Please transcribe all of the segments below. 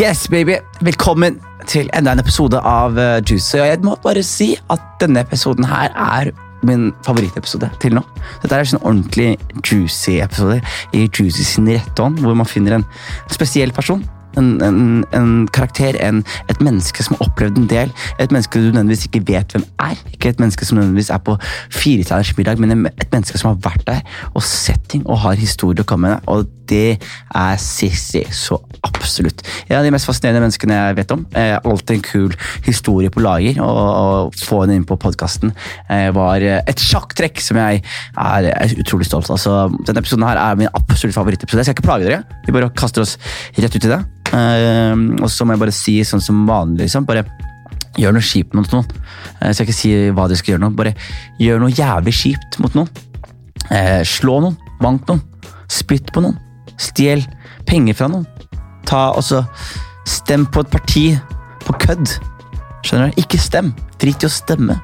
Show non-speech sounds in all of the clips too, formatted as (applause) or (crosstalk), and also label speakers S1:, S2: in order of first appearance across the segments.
S1: Yes, baby! Velkommen til enda en episode av eh, Juice. Og jeg må bare si at denne episoden her er min favorittepisode til nå. Dette er en sånn ordentlig juicy episode i Juicy sin rette ånd, hvor man finner en spesiell person. En, en, en karakter, en, et menneske som har opplevd en del. Et menneske du nødvendigvis ikke vet hvem er. Ikke et menneske som nødvendigvis er på firetallers middag, men en- et menneske som har vært der og sett ting og har historier å komme med. Og det er Sissy så absolutt. En av de mest fascinerende menneskene jeg vet om. Eh, alltid en kul historie på lager. Og, og få henne inn på podkasten eh, var eh, et sjakktrekk som jeg er, er utrolig stolt av. Så denne episoden her er min absolutt favorittepisode. Jeg skal ikke plage dere. Vi bare kaster oss rett ut i det. Eh, og så må jeg bare si sånn som vanlig, liksom. Bare Gjør noe kjipt mot noen. Eh, Så jeg ikke si hva de skal gjøre nå. Bare gjør noe jævlig kjipt mot noen. Eh, slå noen. Bank noen. Spytt på noen. Stjel penger fra noen. Ta også Stem på et parti på kødd. Skjønner du? Ikke stem. Drit i å stemme.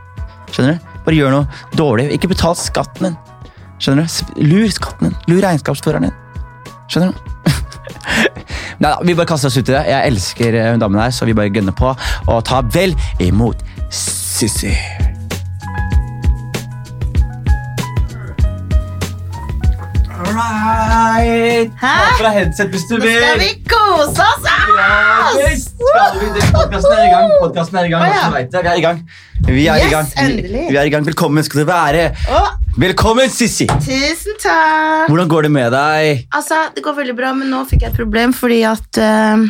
S1: Skjønner du? Bare gjør noe dårlig. Ikke betal skatten din. Skjønner du? Sp- Lur skatten din. Lur regnskapsføreren din. Skjønner du? (laughs) Nei, da, vi bare kaster oss ut i det. Jeg elsker eh, hun damen her, så vi bare gønner på. Og ta vel imot Sissy. Alright.
S2: Hæ? Ta på
S1: deg headset hvis du
S2: Nå skal vi kose oss! ass!
S1: Podkasten er i gang. Podcasten er i gang.
S2: Å, ja.
S1: dere vet det, Vi er i gang. Vi er i
S2: Yes,
S1: gang. Vi,
S2: endelig.
S1: vi er i gang. Velkommen skal du være.
S2: Å,
S1: Velkommen, Sissy.
S2: tusen takk!
S1: Hvordan går det med deg?
S2: Altså, Det går veldig bra, men nå fikk jeg et problem fordi at eh,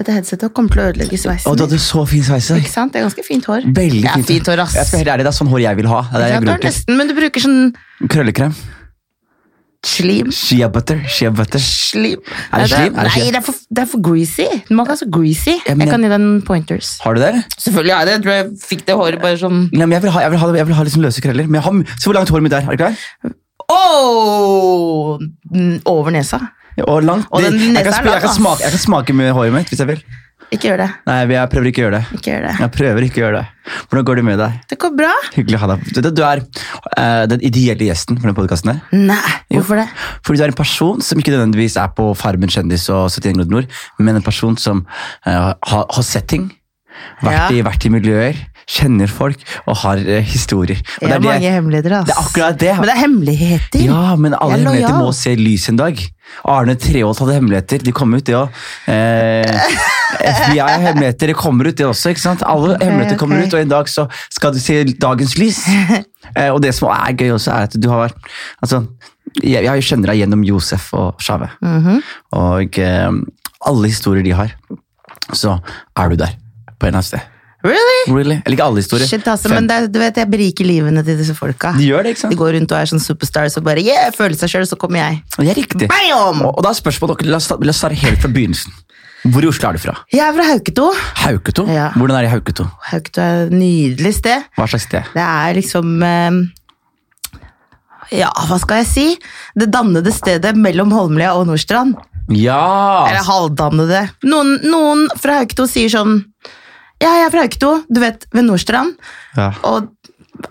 S2: dette headsetet kommer til å ødelegge
S1: Å,
S2: sveisen.
S1: du
S2: min.
S1: hadde så fin sveis.
S2: Ikke sant? Det er ganske fint hår.
S1: Veldig
S2: det er fint hår, ass.
S1: Jeg skal være helt ærlig, Det er sånn hår jeg vil ha. Det er det jeg
S2: Ja, det er
S1: grunner til.
S2: nesten, men du bruker sånn
S1: Krøllekrem.
S2: slim.
S1: Shea butter. Shea butter.
S2: Slim.
S1: Er det
S2: Nei,
S1: slim? Er det
S2: nei,
S1: slim?
S2: det er, for, det er for greasy. Den må ikke være så greasy.
S1: Ja, men-
S2: Jeg kan gi deg noen pointers.
S1: Har du det? eller?
S2: Selvfølgelig har jeg det. Jeg tror jeg fikk det håret bare sånn
S1: Nei, men jeg vil ha, jeg vil ha, jeg vil ha liksom løse krøller. Men jeg har, se hvor langt håret mitt er. er det ikke det?
S2: Åh! Mm, Over nesa.
S1: Og langt.
S2: Og den
S1: Det- jeg, kan
S2: nesa er
S1: sp- jeg,
S2: lang,
S1: kan
S2: ass.
S1: smake, jeg kan smake med håret mitt hvis jeg vil.
S2: Ikke gjør det.
S1: Nei, jeg prøver ikke å gjøre det.
S2: Ikke gjør det.
S1: Jeg prøver ikke å gjøre det. Hvordan går det med deg?
S2: Det går bra.
S1: Hyggelig å ha deg. Du, du er eh, den ideelle gjesten for den podkasten her.
S2: Nei, hvorfor det?
S1: Fordi du er en person som ikke nødvendigvis er på Farmen kjendis og 71 grader nord, men en person som eh, har, har sett ting, vært,
S2: Ja.
S1: i, vært i miljøer, kjenner folk og har eh, historier. Og
S2: Jeg har
S1: det,
S2: mange hemmeligheter, ass.
S1: det er akkurat det.
S2: Men det er hemmeligheter.
S1: Ja, men alle
S2: Jeg er
S1: hemmeligheter
S2: lojal.
S1: må se lys en dag. Arne Treholt hadde hemmeligheter. De kom ut, det òg. Eh, FBI har hemmeligheter. Det kommer ut, det også. ikke sant?
S2: (laughs)
S1: Alle hemmeligheter kommer
S2: ok.
S1: ut, og en dag så skal du se dagens lys.
S2: (laughs)
S1: Eh, og det som er gøy også, er at du har vært altså, jeg, jeg kjenner deg gjennom Josef og Shave.
S2: Mhm.
S1: Og eh, alle historier de har, så er du der på en eller annen sted.
S2: Really?
S1: Really? Eller ikke alle historier.
S2: Shit, altså, men det, er- du vet, jeg beriker livene til disse folka.
S1: De gjør det, ikke sant?
S2: De går rundt og er sånn superstars og bare yeah, føler seg sjøl, så kommer jeg.
S1: Og Det er riktig.
S2: Bam!
S1: Og, og da er spørsmålet dere, la oss, ta- la oss starte helt fra begynnelsen. Hvor i Oslo er du fra?
S2: Jeg er fra Hauketo.
S1: Hauketo?
S2: Ja.
S1: Hvordan er det i Hauketo?
S2: Hauketo er et nydelig sted.
S1: Hva slags sted?
S2: Det er liksom eh, Ja, hva skal jeg si? Det dannede stedet mellom Holmlia og Nordstrand. Eller
S1: Ja!
S2: halvdannede. Noen, noen fra Hauketo sier sånn Ja, jeg er fra Hauketo, du vet, ved Nordstrand.
S1: Ja,
S2: Og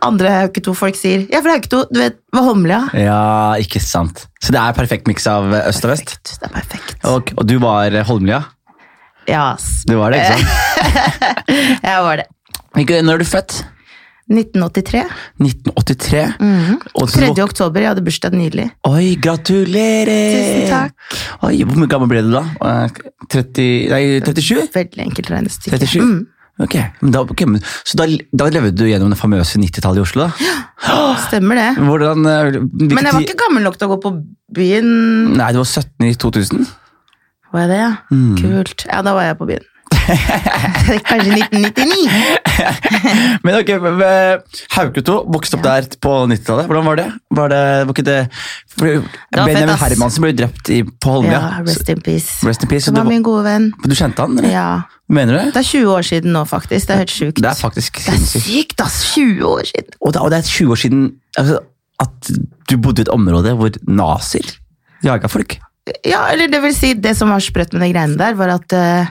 S2: andre Hauketo-folk sier Jeg er fra Hauketo, du vet, ved Holmlia.
S1: ja ikke sant. Så det er perfekt miks av eh, øst og vest?
S2: Perfekt, Det er perfekt.
S1: Og, og du var eh, Holmlia?
S2: Ja, ass.
S1: Du var det, ikke sant?
S2: Jeg var det.
S1: Ikke- Når er du født?
S2: 1983.
S1: 1983.
S2: Mhm.
S1: Og så
S2: 3.
S1: våk-
S2: oktober. Jeg hadde bursdag nylig.
S1: Oi, gratulerer!
S2: Tusen takk.
S1: Oi, Hvor gammel ble du da? Eh, 30, nei, 37?
S2: Veldig enkelt regnestykke.
S1: 37?
S2: Mm,
S1: Ok, men da, ok, men, Så da, da levde du gjennom det famøse 90-tallet i Oslo? da?
S2: stemmer det.
S1: Hvordan, eh, hvilken
S2: Men jeg var
S1: tid-
S2: ikke gammel nok til å gå på byen.
S1: Nei, du var 17 i 2000.
S2: Var jeg det, ja?
S1: Mm.
S2: Kult. Ja, da var jeg på
S1: (laughs)
S2: byen. Kanskje 1999.
S1: Men ok, men, Hauketo vokste opp der på 90-tallet. Hvordan var det? Var det, var ikke det for
S2: var fett,
S1: Benjamin
S2: ass.
S1: Hermansen ble jo drept i, på
S2: Ja,
S1: Holmlia. Så-
S2: rest in peace.
S1: Rest in peace. så
S2: Det
S1: Du,
S2: var min gode venn.
S1: var- du kjente han, eller?
S2: Ja.
S1: Mener du det?
S2: Det er 20 år siden nå, faktisk. Det er helt sjukt.
S1: Det er faktisk
S2: Det er
S1: sinnssykt.
S2: sykt, ass! 20 år siden.
S1: Og, det- og det er 20 år siden altså, at du bodde i et område hvor nazier jaga folk.
S2: Ja, eller det vil si, det som var sprøtt med de greiene der, var at eh,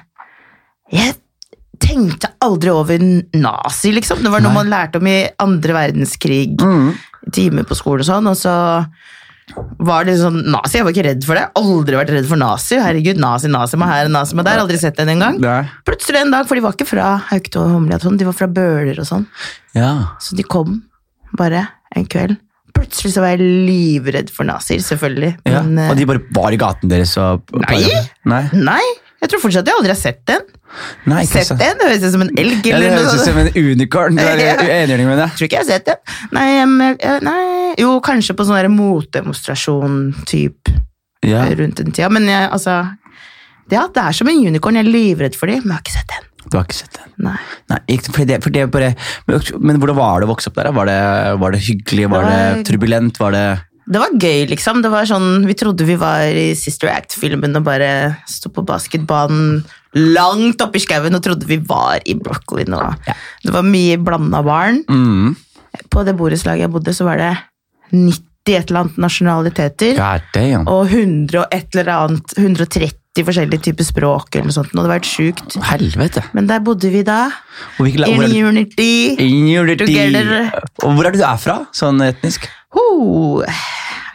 S2: jeg tenkte aldri over nazi, liksom.
S1: Mm.
S2: Det var noe man lærte om i andre verdenskrig, timer på skole og sånn, og så var det sånn nazi. Jeg var ikke redd for det. Aldri vært redd for nazi. Herregud, nazi, nazi meg her, nazi meg der. Aldri sett den engang.
S1: Nei.
S2: Plutselig en dag, for de var ikke fra Haukto og Humle, og sånn, de var fra Bøler og sånn.
S1: Ja.
S2: Så de kom bare en kveld. Plutselig så var jeg livredd for nazier, selvfølgelig.
S1: ja.
S2: Men eh,
S1: Og de bare var i gaten deres og
S2: Nei!
S1: Nei,
S2: nei, jeg tror fortsatt jeg aldri har sett den.
S1: Nei ikke
S2: Sett
S1: sant.
S2: den? Det høres ut som en elg.
S1: Ja, det
S2: eller noe
S1: høres ut
S2: sånt.
S1: som en unicorn. Du er
S2: (laughs) Ja.
S1: enig med det.
S2: Jeg tror ikke jeg har sett den. Nei, men, eh, nei. Jo, kanskje på sånn der motdemonstrasjon-typ
S1: Ja.
S2: rundt den tida. Men jeg, altså ja, Det er som en unicorn. Jeg er livredd for dem, men jeg har ikke sett den.
S1: Du har ikke sett den.
S2: Nei.
S1: Nei, ikke, for det, for det bare, men, men hvordan var det å vokse opp der? da? Var det, var det hyggelig? Var det
S2: Nei.
S1: turbulent? Var det
S2: Det var gøy, liksom. Det var sånn, Vi trodde vi var i Sister Act-filmen og bare sto på basketbanen langt oppe i skauen og trodde vi var i Brooklyn. Og Det var mye blanda barn.
S1: mm.
S2: På det borettslaget jeg bodde, så var det 90 et eller annet nasjonaliteter.
S1: God damn.
S2: Og 100 og et eller annet, 130 forskjellige typer språk eller noe sånt. Og det var helt sjukt.
S1: Helvete.
S2: Men der bodde vi da.
S1: Og hvilke la-
S2: In
S1: hvor er det-
S2: unity.
S1: Ingenuity.
S2: Together.
S1: Og hvor er det du er fra, sånn etnisk?
S2: Ho. Are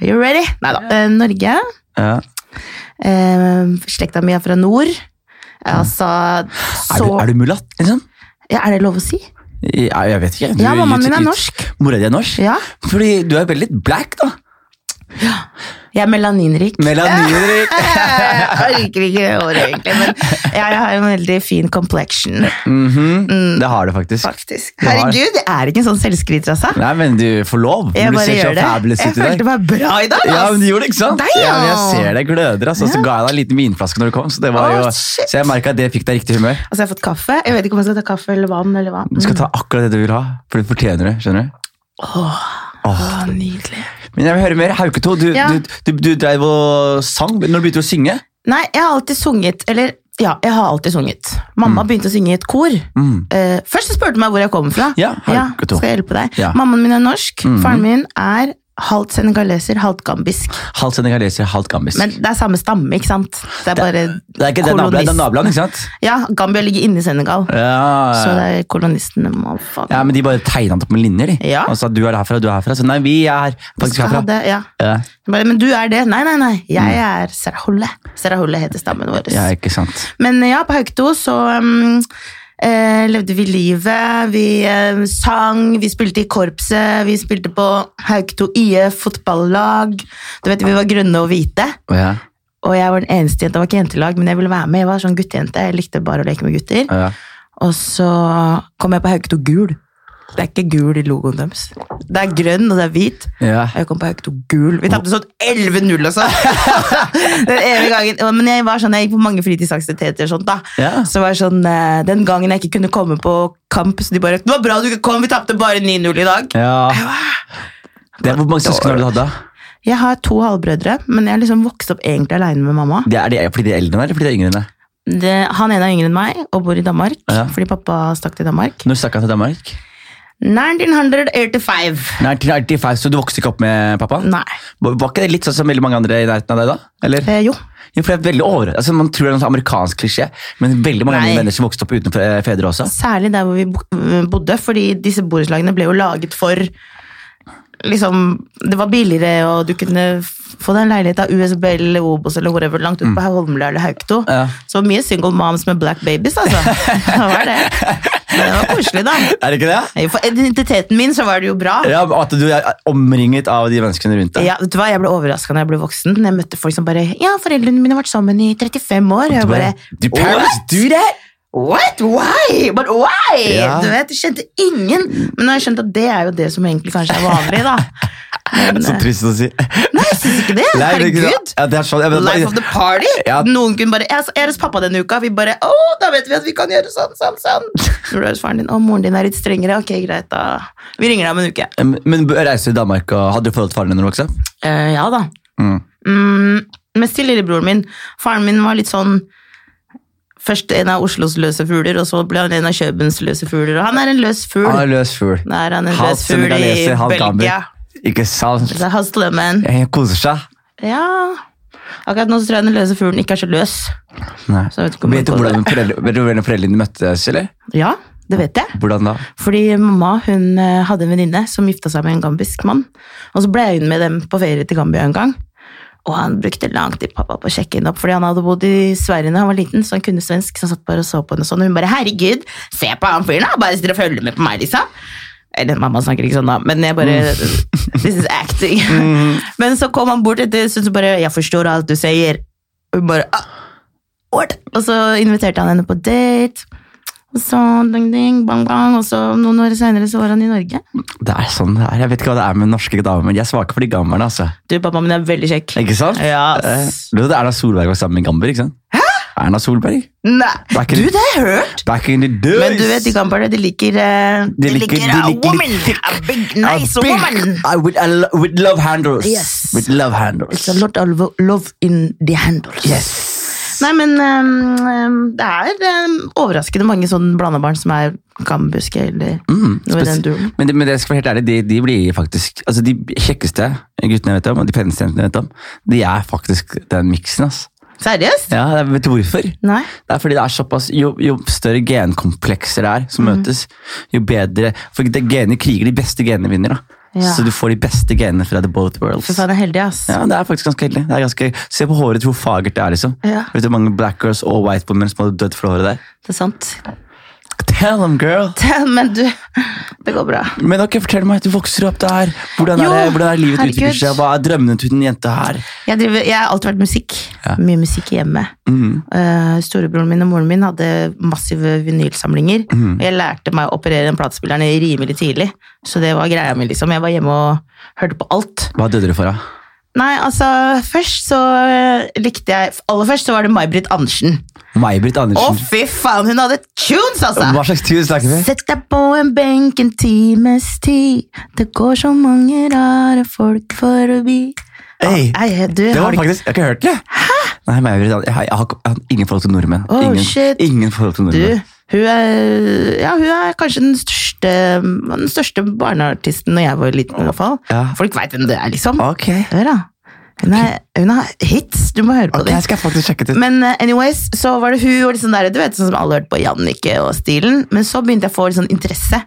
S2: you ready? Nei da. Norge.
S1: Ja.
S2: Eh, slekta mi er fra nord. Altså,
S1: Er,
S2: så
S1: du, er du mulatt, liksom?
S2: ja, Er det lov å si?
S1: I- ja, Jeg vet ikke. Du,
S2: Ja, mammaen
S1: ut-
S2: min er
S1: ut-
S2: norsk.
S1: Mora di er norsk?
S2: Ja.
S1: Fordi du er veldig black, da.
S2: Jeg
S1: (laughs)
S2: er melaninrik. (laughs)
S1: Melaninrik.
S2: jeg orker ikke det året, egentlig, men jeg har en veldig fin complexion,
S1: Mhm.
S2: Mm.
S1: Det har du faktisk.
S2: faktisk.
S1: Du har-
S2: Herregud, jeg er ikke en sånn selvskryter, altså.
S1: Nei, men du får lov.
S2: Jeg
S1: men du
S2: bare
S1: ser så
S2: gjør det.
S1: fabulous ut
S2: Jeg
S1: i dag.
S2: følte meg bra i dag,
S1: Ja, men du
S2: ass.
S1: gjorde det, ikke sant?
S2: Damn!
S1: Ja, men jeg ser det gløder, altså. Så ga jeg deg en liten vinflaske når du kom, så, det var
S2: Åh,
S1: jo,
S2: shit.
S1: så jeg merka at det fikk deg riktig humør.
S2: Altså, jeg har fått kaffe. Jeg vet ikke om jeg skal ta kaffe eller vann. eller hva.
S1: Du skal ta akkurat det du vil ha, for du fortjener det. skjønner du?
S2: Å, nydelig.
S1: Men jeg vil høre mer. Hauketo, du,
S2: Ja.
S1: du, du, du dreiv og sang. Når begynte du å synge?
S2: Nei, jeg har alltid sunget, eller ja, jeg har alltid sunget. Mamma begynte å synge i et kor.
S1: Mm.
S2: Eh, først så spurte hun meg hvor jeg kom fra.
S1: Ja, her, gutto.
S2: skal jeg hjelpe deg?
S1: Ja. Mm.
S2: Mammaen min er norsk, faren min er halvt senegaleser, halvt gambisk.
S1: Halvt senegaleser, halvt gambisk.
S2: Men det er samme stamme, ikke sant? Det er bare
S1: det er ikke det er naboland, det er naboland, ikke
S2: (laughs)
S1: sant?
S2: Ja, Gambia ligger inne i Senegal, så
S1: Ja,
S2: det er kolonistene motherfucker.
S1: ja men de bare tegna det opp med linjer, de.
S2: Ja.
S1: Og sa du er herfra, du er herfra. Så nei, vi er faktisk
S2: Skal ha
S1: herfra.
S2: det, ja.
S1: Ja,
S2: Bare, men du er det? Nei, nei, nei. Jeg er Serahulle. Serahulle heter stammen vår.
S1: ja, ikke sant.
S2: Men ja, på Haugto så um, eh, levde vi livet. Vi eh, sang, vi spilte i korpset, vi spilte på Haugto IF fotballag. Du vet, vi var grønne og hvite.
S1: Å, Ja,
S2: Og jeg var den eneste jenta, det var ikke jentelag, men jeg ville være med. Jeg var sånn guttejente, jeg likte bare å leke med gutter.
S1: ja.
S2: Og så kom jeg på Haugto gul. Det er ikke gul i logoen deres. Det er grønn, og det er hvit.
S1: ja.
S2: Jeg kom på Haugto gul. Vi tapte sånn 11-0
S1: (laughs)
S2: og sånn. den ene gangen. Og- Men jeg var sånn, jeg gikk på mange fritidsaktiviteter og sånt da.
S1: Ja.
S2: Så var jeg sånn, eh, den gangen jeg ikke kunne komme på kamp, så de bare, det var bra du ikke kom, vi tapte bare 9-0 i dag.
S1: ja. Det er Hvor mange søsken har du hatt da?
S2: Jeg har to halvbrødre, men jeg har liksom vokst opp egentlig alene med mamma.
S1: Det er de, fordi de er eldre enn deg, eller fordi de er yngre enn deg?
S2: Det, han ene er yngre enn meg, og bor i Danmark,
S1: Ja.
S2: fordi pappa stakk til Danmark.
S1: Når stakk han til Danmark?
S2: 1985.
S1: Nei, til 95, så du vokste ikke opp med pappa?
S2: Nei.
S1: Var var ikke det litt sånn som veldig mange andre i nærheten av deg da? Eller?
S2: Eh, jo.
S1: Jo, for det er veldig over... Altså, man tror det er en sånn amerikansk klisjé, men veldig mange av mine
S2: Nei.
S1: venner som vokste opp uten eh, fedre også.
S2: Særlig der hvor vi bo- bodde, fordi disse borettslagene ble jo laget for liksom, Det var billigere, og du kunne f- få deg en leilighet av USB eller Obos eller whatever, langt ut på Holmlia eller Haukto.
S1: Ja.
S2: Så mye single moms med black babies, altså. Det var det. Men det var koselig, da.
S1: Er det ikke det?
S2: For identiteten min så var det jo bra.
S1: Ja, men At du er omringet av de menneskene rundt deg.
S2: Ja, vet du hva? Jeg ble overraska når jeg ble voksen. Jeg møtte folk som bare Ja, foreldrene mine har vært sammen i 35 år. Og jeg bare
S1: Do parents
S2: What?
S1: do that?
S2: What? Why? But why?
S1: Ja.
S2: Du vet, jeg kjente ingen. Men nå har jeg skjønt at det er jo det som egentlig kanskje er vanlig, da. Men,
S1: Så
S2: eh,
S1: trist å si.
S2: nei, jeg syns ikke det.
S1: (laughs) Nei, det er ikke
S2: Herregud.
S1: sant. Ja, det er sånn. Jeg vet,
S2: Life of the party.
S1: Ja.
S2: Noen kunne bare Jeg er hos pappa denne uka. Vi bare Å, da vet vi at vi kan gjøre sånn, sånn, sånn. Når du er hos faren din. Å, moren din er litt strengere. Ok, greit, da. Vi ringer deg om en uke.
S1: Men reiste du til Danmark og hadde du forhold til faren din når du vokste opp?
S2: Eh, ja da.
S1: Mm.
S2: Mm, mest til lillebroren min. Faren min var litt sånn Først en av Oslos løse fugler, og så ble han en av Købens løse fugler. Og han er en løs fugl.
S1: Han er Ah, løs fugl.
S2: Da er han en
S1: Halvt
S2: løs fugl i
S1: senegaleser, halvt
S2: Belgia.
S1: gamber. Ikke sant?
S2: Så Hastlemen.
S1: Jeg koser seg.
S2: Ja Akkurat nå så tror jeg den løse fuglen ikke er så løs.
S1: Nei.
S2: Så jeg vet ikke om
S1: Vet du
S2: man får
S1: hvordan foreldre, vet du hvordan foreldrene dine møttes, eller?
S2: Ja, det vet jeg.
S1: Hvordan da?
S2: Fordi mamma hun eh, hadde en venninne som gifta seg med en gambisk mann. Og så ble hun med dem på ferie til Gambia en gang. Og han brukte lang tid pappa på å sjekke henne opp, fordi han hadde bodd i Sverige da han var liten. så han kunne svensk, så han satt bare og så på henne sånn, og hun bare 'herregud, se på han fyren, da, bare sitter og følger med på meg', liksom. Eller mamma snakker ikke sånn, da, men jeg bare (laughs) This is acting. (laughs) Men så kom han bort etter så bare 'jeg forstår alt du sier'. Og hun bare ah, what? Og så inviterte han henne på date. Og så, ding, ding, bang, bang, og så noen år seinere var han i Norge.
S1: Det er sånn det er. Jeg vet ikke hva det er med norske damer, men de er svake for de gamberne, altså.
S2: Du, pappaen min er veldig kjekk.
S1: Ikke sant?
S2: Ja,
S1: Eh,
S2: ass.
S1: Du vet at Erna Solberg var sammen med gamber, ikke sant? Hæ? Erna Solberg.
S2: Nei,
S1: Det er ikke
S2: du,
S1: det.
S2: det har jeg hørt!
S1: Back in the days.
S2: Men du vet, de gamle, de liker eh,
S1: De liker- de
S2: a
S1: liker-
S2: woman! A big, nice
S1: A big-
S2: woman!
S1: I would- I lo- with love handles.
S2: Yes.
S1: With love handles.
S2: It's a lot of love in the handles.
S1: Yes.
S2: Nei, men ehm, ehm, det er ehm, overraskende mange sånn blanda barn som er gambuske eller
S1: Mm,
S2: noe i
S1: spes-
S2: den duren.
S1: men, det, men det skal være helt ærlig, de, de blir faktisk altså De kjekkeste guttene jeg vet om, og de peneste jentene jeg vet om, de er faktisk den miksen. ass.
S2: Seriøst?
S1: Ja, jeg vet du hvorfor?
S2: Nei.
S1: Det er fordi det er såpass, jo, jo større genkomplekser det er som
S2: Mhm.
S1: møtes, jo bedre For det genene kriger, de beste genene vinner. da
S2: Ja.
S1: Så du får de beste genene fra the both worlds.
S2: Fy faen, jeg er heldig, ass.
S1: Ja, det er faktisk ganske heldig. Det er ganske, se på håret, hvor fagert det er. liksom
S2: Ja.
S1: Vet du hvor mange black girls og white women som hadde dødd for det håret der?
S2: Det er sant. (laughs)
S1: Tell them, girl!
S2: Men du, det går bra.
S1: Men ok, fortell meg, du vokser opp der. Hvordan er,
S2: Jo,
S1: det, hvordan er livet
S2: herregud.
S1: utvikler seg? Hva er drømmene til den jenta her?
S2: Jeg, driver, jeg har alltid vært musikk.
S1: Ja.
S2: Mye musikk hjemme.
S1: Mhm.
S2: Eh, storebroren min og moren min hadde massive vinylsamlinger.
S1: Mm.
S2: Og jeg lærte meg å operere den platespilleren rimelig tidlig. Så det var greia mi, liksom. Jeg var hjemme og hørte på alt.
S1: Hva døde dere for, da?
S2: Nei, altså, først så eh, likte jeg Aller først så var det May-Britt Andersen.
S1: May-Britt
S2: Å,
S1: Andersen.
S2: fy faen, hun hadde tunes, altså!
S1: Hva slags tur snakker vi?
S2: Sett deg på en benk en times tid, det går så mange rare folk forbi.
S1: Hey,
S2: Nei, du,
S1: det
S2: har
S1: var
S2: du
S1: faktisk, Jeg har ikke hørt det. Nei, May-Britt Andersen. Jeg har, jeg har ikke- jeg har ingen forhold til nordmenn.
S2: Oh,
S1: ingen,
S2: shit.
S1: ingen forhold til
S2: du,
S1: nordmenn.
S2: hun er, ja, hun er kanskje den største, den største barneartisten når jeg var liten, i hvert fall.
S1: Ja. Ah.
S2: Folk veit hvem det er, liksom.
S1: Ok,
S2: Hør, da. Hun, er, hun har hits, du må høre på
S1: Ok,
S2: det.
S1: jeg skal faktisk sjekke det ut.
S2: Men eh, anyways, så var det hun og liksom der, du vet, sånn som alle hørte på Jannicke og stilen. Men så begynte jeg å få litt sånn interesse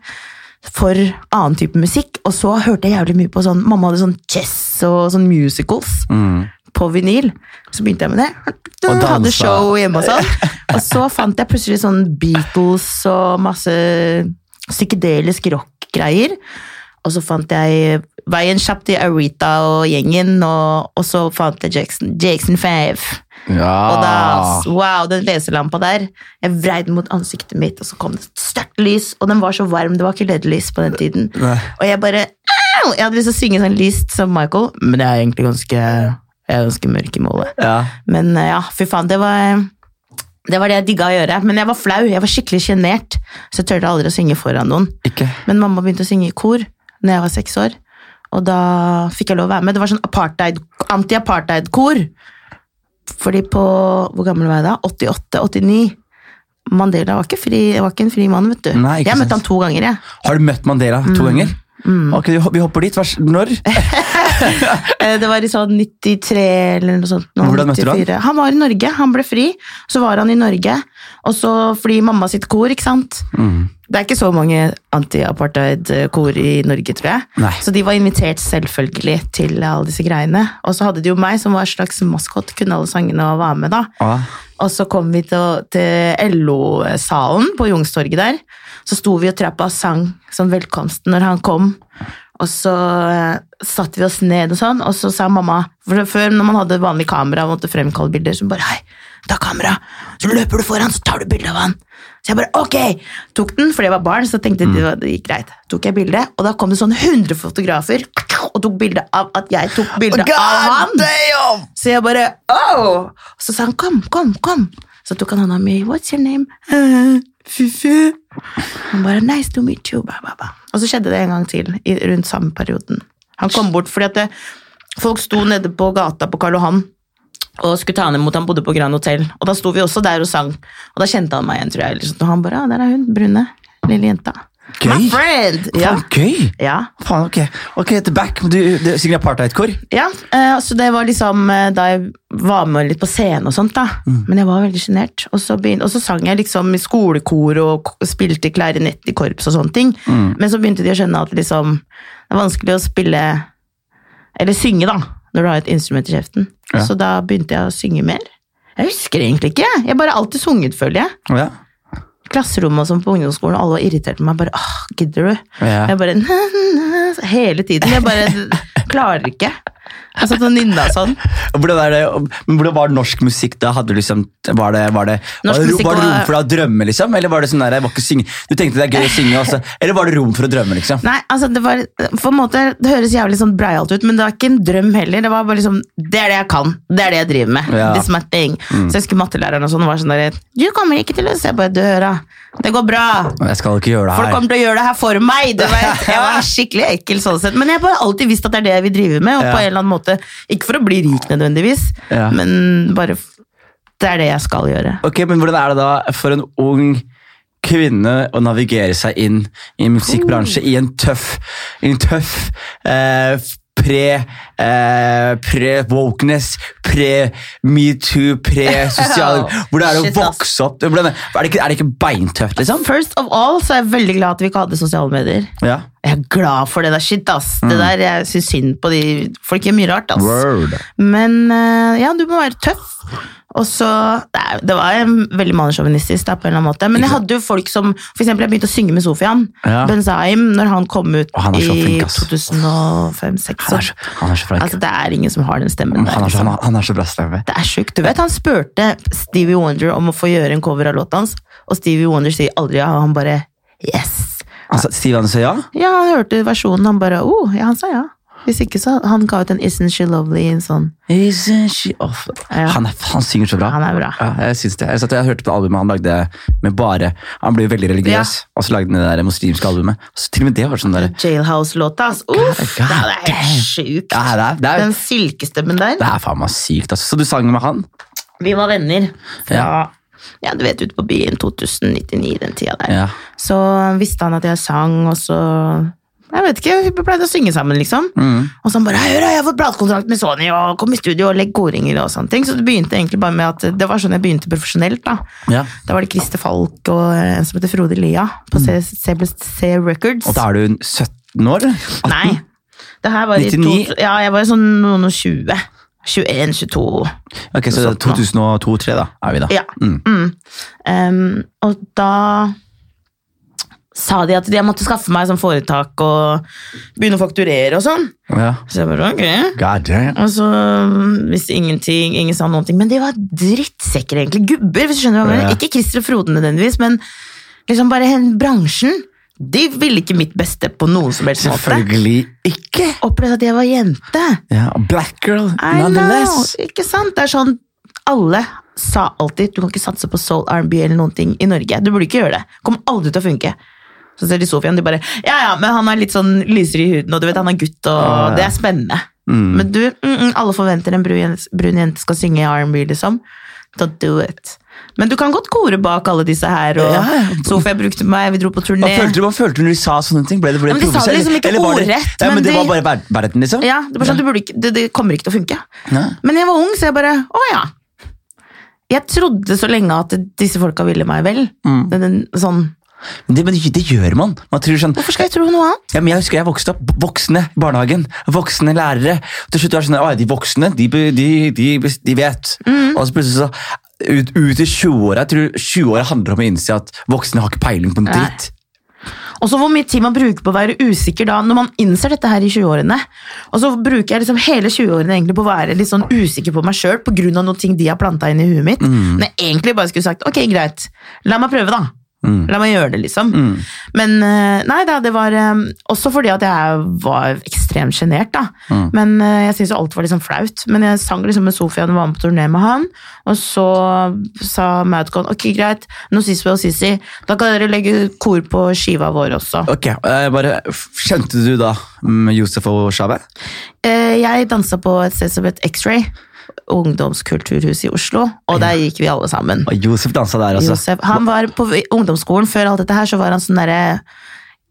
S2: for annen type musikk, og så hørte jeg jævlig mye på sånn Mamma hadde sånn chess og sånn musicals
S1: Mm.
S2: på vinyl. Så begynte jeg med det.
S1: Og dansa.
S2: Hadde show hjemme og
S1: (laughs)
S2: sånn. Og så fant jeg plutselig sånn Beatles og masse psykedelisk rock-greier. Og så fant jeg veien kjapt til Aretha og gjengen, og, og så fant jeg Jackson, Jackson 5.
S1: Ja.
S2: Og da, wow, den leselampa der. Jeg vrei den mot ansiktet mitt, og så kom det et sterkt lys, og den var så varm. Det var ikke LED-lys på den tiden.
S1: Nei.
S2: Og jeg bare au! Jeg hadde lyst til å synge sånn lyst som Michael, men jeg er egentlig ganske, jeg er ganske mørk i målet.
S1: ja.
S2: Men eh, ja, fy faen, det var det var det jeg digga å gjøre. Men jeg var flau, jeg var skikkelig sjenert. Så jeg turte aldri å synge foran noen.
S1: Ikke.
S2: Men mamma begynte å synge i kor når jeg var seks år. Og da fikk jeg lov å være med. Det var sånn apartheid, anti-apartheid-kor. Fordi på Hvor gammel var jeg da? 88-89. Mandela var ikke, fri, var ikke en fri mann, vet du.
S1: Nei, ikke
S2: jeg møtte
S1: sant.
S2: han to ganger, jeg.
S1: Har du møtt Mandela to
S2: Mm.
S1: ganger? Ok, vi hop- Vi hopper dit. Hva s-
S2: (laughs)
S1: Når?
S2: Eh, Det var i sånn 93 eller noe sånt. nå,
S1: Hvordan møtte du han?
S2: 94. Han var i Norge, han ble fri. Så var han i Norge, og så fordi mamma sitt kor, ikke sant.
S1: Mm.
S2: Det er ikke så mange anti-apartheid-kor i Norge, tror jeg.
S1: Nei.
S2: Så de var invitert selvfølgelig til alle disse greiene. Og så hadde de jo meg som var slags maskot, kunne alle sangene og var med da.
S1: Ah.
S2: Og så kom vi til, til LO-salen på Jungstorget der. Så sto vi og trappa og sang som velkomsten når han kom. Og så eh, satte vi oss ned og sånn, og så sa mamma for Før, når man hadde vanlig kamera og måtte fremkalle bilder, så bare Hei, ta kamera! Så løper du foran, så tar du bilde av han. Så jeg bare ok! Tok den, fordi jeg var barn, så tenkte jeg det, var, det gikk greit. Tok jeg bildet, og da kom det sånn 100 fotografer og tok bilde av at jeg tok
S1: Oh,
S2: bilde av han!
S1: damn!
S2: Så jeg bare oh! Så sa han kom, kom, kom. Så tok han hånda mi. What's your name? «Eh, Fufu. Han bare nice to meet you. Ba, ba, ba. Og så skjedde det en gang til i, rundt samme perioden. Han kom bort fordi at det, folk sto nede på gata på Karl Johan og skulle ta han imot. Han bodde på Grand Hotel. Og da liksom. sto vi også der og sang. Og da kjente han meg igjen, tror jeg. Eller sånt. Og han bare ja, der er hun. Brune. Lille jenta. My
S1: Gøy.
S2: friend! Ja.
S1: Gøy!
S2: ja.
S1: Faen, ok. Ok, the back. men Du, du synger apartheid-kor.
S2: Ja, eh, så det var liksom eh, da jeg var med litt på scenen og sånt, da. Men jeg var veldig sjenert. Og, så begyn- og så sang jeg liksom i skolekor og k- spilte klarinett i korps og sånne ting. Men så begynte de å skjønne at liksom, det er vanskelig å spille Eller synge, da, når du har et instrument i kjeften.
S1: Ja.
S2: Så da begynte jeg å synge mer. Jeg husker egentlig ikke. Jeg har bare alltid sunget, føler jeg.
S1: Ja.
S2: Klasserommet og sånn på ungdomsskolen, alle var irritert på meg. Bare åh, gidder du?
S1: Ja.
S2: Jeg bare na, na, Hele tiden. Jeg bare (laughs) klarer ikke. Jeg satt og nynna sånn.
S1: Og Hvordan, er det, men hvordan var norsk musikk da? Hadde du liksom, var det, var det, var
S2: Norsk
S1: det, ro-
S2: musikk
S1: var det rom
S2: var-
S1: for deg å drømme, liksom? Eller var det sånn der, jeg var ikke synge, du tenkte det er gøy å synge, også, eller var det rom for å drømme, liksom?
S2: Nei, altså det var på en måte, Det høres jævlig sånn breialt ut, men det var ikke en drøm heller. Det var bare liksom, det er det jeg kan. Det er det jeg driver med.
S1: Ja. Mm.
S2: This is my thing. Så jeg husker mattelæreren og sånn var sånn der Du kommer ikke til å se på et døra. Det går bra.
S1: Jeg skal ikke gjøre
S2: Folk
S1: det her.
S2: kommer til å gjøre det her for meg. Du
S1: (laughs)
S2: vet. Jeg var skikkelig ekkel sånn sett. Men jeg har bare alltid visst at det er det jeg vil drive med. Og
S1: Ja.
S2: på en eller annen måte, Ikke for å bli rik nødvendigvis,
S1: Ja.
S2: men bare f- det er det jeg skal gjøre.
S1: Ok, men hvordan er det da for en ung kvinne å navigere seg inn i musikkbransje i en tøff, i en tøff eh, pre, eh, pre wokeness, pre metoo,
S2: (laughs)
S1: pre sosial Hvordan er det
S2: Shit,
S1: å
S2: ass.
S1: vokse opp? Hvordan, er, det ikke, er det ikke beintøft, liksom?
S2: First of all så er jeg veldig glad at vi ikke hadde sosiale medier.
S1: Ja.
S2: Jeg er glad for det der shit, ass.
S1: Mm.
S2: Det der, Jeg syns synd på de Folk gjør mye rart, ass.
S1: Word.
S2: Men eh, ja, du må være tøff. Og så, det, er- det var eh, veldig mannssjåvinistisk, da, på en eller annen måte. Men jeg hadde jo folk som For eksempel, jeg begynte å synge med Sofian
S1: Ja.
S2: Benzaim når han kom ut
S1: Og han er så
S2: i
S1: flink, ass. Han er
S2: 2005-2006.
S1: så, han er så flink.
S2: Altså, det er ingen som har den stemmen. der,
S1: han, er så,
S2: liksom.
S1: han, er, han er så bra stemme.
S2: Det er sjukt. Du vet, han spurte Stevie Wonder om å få gjøre en cover av låta hans, og Stevie Wonder sier aldri ja, og han bare yes.
S1: Altså, Steve Andersen, ja?
S2: Ja, han hørte versjonen, han bare oh, ja, han sa ja. Hvis ikke, så Han ga ut en Isn't She Lovely, en sånn
S1: Isn't she awful?
S2: Ja.
S1: Han, er, han synger så bra.
S2: Han er bra.
S1: Ja, jeg syns det. Jeg, satt, jeg hørte på albumet han lagde med bare Han ble jo veldig religiøs, og så lagde han det der muslimske albumet. Så til og med det var sånn der
S2: Jailhouse-låta, ass. Uff,
S1: God
S2: det er
S1: damn.
S2: helt sjukt.
S1: Ja, det er, det er,
S2: Den silkestemmen der.
S1: det er faen meg sykt, altså. Så du sang med han?
S2: Vi var venner
S1: Ja.
S2: fra ja, du vet, ute på byen 2099, den tida der.
S1: Ja.
S2: Så visste han at jeg sang, og så Jeg vet ikke, vi pleide å synge sammen, liksom. Og så han bare 'Hør, jeg har fått platekontrakt med Sony, og kom i studio og legg gordinger' og sånne ting. Så det begynte egentlig bare med at det var sånn jeg begynte profesjonelt, da.
S1: Ja.
S2: Da var det Christer Falk og en som heter Frode Lia på C, C, C Records.
S1: Og da er du 17 år? eller?
S2: Nei. Det her var
S1: 99?
S2: i to, Ja, jeg var sånn noen og 20. 21, 22.
S1: Ok, Så 2002-2003, da, er vi da.
S2: Ja. Mm. Em, og da sa de at jeg måtte skaffe meg sånn foretak og begynne å fakturere og sånn.
S1: Ja.
S2: Så jeg bare, ok.
S1: God damn.
S2: Og så mm, visste ingenting, ingen sa noen ting. Men de var drittsekker, egentlig. Gubber, hvis du skjønner hva jeg
S1: Ja.
S2: mener. Ikke Christer og Frode nødvendigvis, men liksom bare hen- bransjen. De ville ikke mitt beste på noen som helst måte.
S1: Selvfølgelig ikke!
S2: Opplevde at jeg var jente.
S1: Ja, og Black girl,
S2: I know,
S1: nonetheless.
S2: ikke sant? Det er sånn, alle sa alltid, du kan ikke satse på soul, R&B eller noen ting i Norge. Du burde ikke gjøre det. Kommer aldri til å funke. Så ser de Sofian, de bare, ja, ja, men han er litt sånn lysere i huden, og du vet, han er gutt, og
S1: Ah, ja.
S2: det er spennende. Men du, mm, mm, alle forventer en brun, jen- brun jente skal synge R&B, liksom. Don't do it. Men du kan godt kore bak alle disse her, og
S1: Ja, ja.
S2: Sofia brukte meg, vi dro på turné.
S1: Hva følte du hva følte du når de sa sånne ting? Ble det, ble
S2: Ja, men de sa det
S1: provosert,
S2: liksom ikke
S1: eller- eller var det-
S2: ordrett,
S1: Ja, men
S2: men
S1: det var
S2: de-
S1: bare ver- verden, liksom?
S2: Ja, det, var sånn, du burde ikke, det, det kommer ikke til å funke.
S1: Nei.
S2: Men jeg var ung, så jeg bare Å ja. Jeg trodde så lenge at disse folka ville meg vel. Den, den, sånn,
S1: Men det, men det gjør man. Man tror sånn
S2: Hvorfor skal jeg tro noe annet?
S1: ja, men Jeg husker jeg vokste opp b- voksne i barnehagen. Voksne lærere. Og til slutt var det sånn, «Å, De voksne, de, be- de, de, bes- de vet.
S2: Mhm.
S1: Og så plutselig så ut, ut i 20-åra. Jeg tror 20-åra handler om å innse at voksne har ikke peiling på en
S2: Nei.
S1: dritt.
S2: Også hvor mye tid man bruker på å være usikker da, når man innser dette her i 20-årene. Og så bruker jeg liksom hele 20-årene egentlig på å være litt sånn usikker på meg sjøl pga. noen ting de har planta inn i huet mitt. Når jeg egentlig bare skulle sagt ok, greit, la meg prøve, da. La meg gjøre det, liksom. Men eh, nei da, det var eh, også fordi at jeg var ekstremt sjenert, da. Men eh, jeg syntes jo alt var liksom flaut. Men jeg sang liksom med Sofian og var med på turné med han. Og så sa Maudcon ok, greit, nå Sissi og Sissi, da kan dere legge kor på skiva vår også.
S1: Ok, eh, bare, f- Kjente du da mm, Josef og Shabe?
S2: Eh, Jeg dansa på et sted som het X-Ray, ungdomskulturhuset i Oslo, og der gikk vi alle sammen.
S1: Og Josef dansa der, altså.
S2: Josef. Han var på ungdomsskolen før alt dette her, så var han sånn derre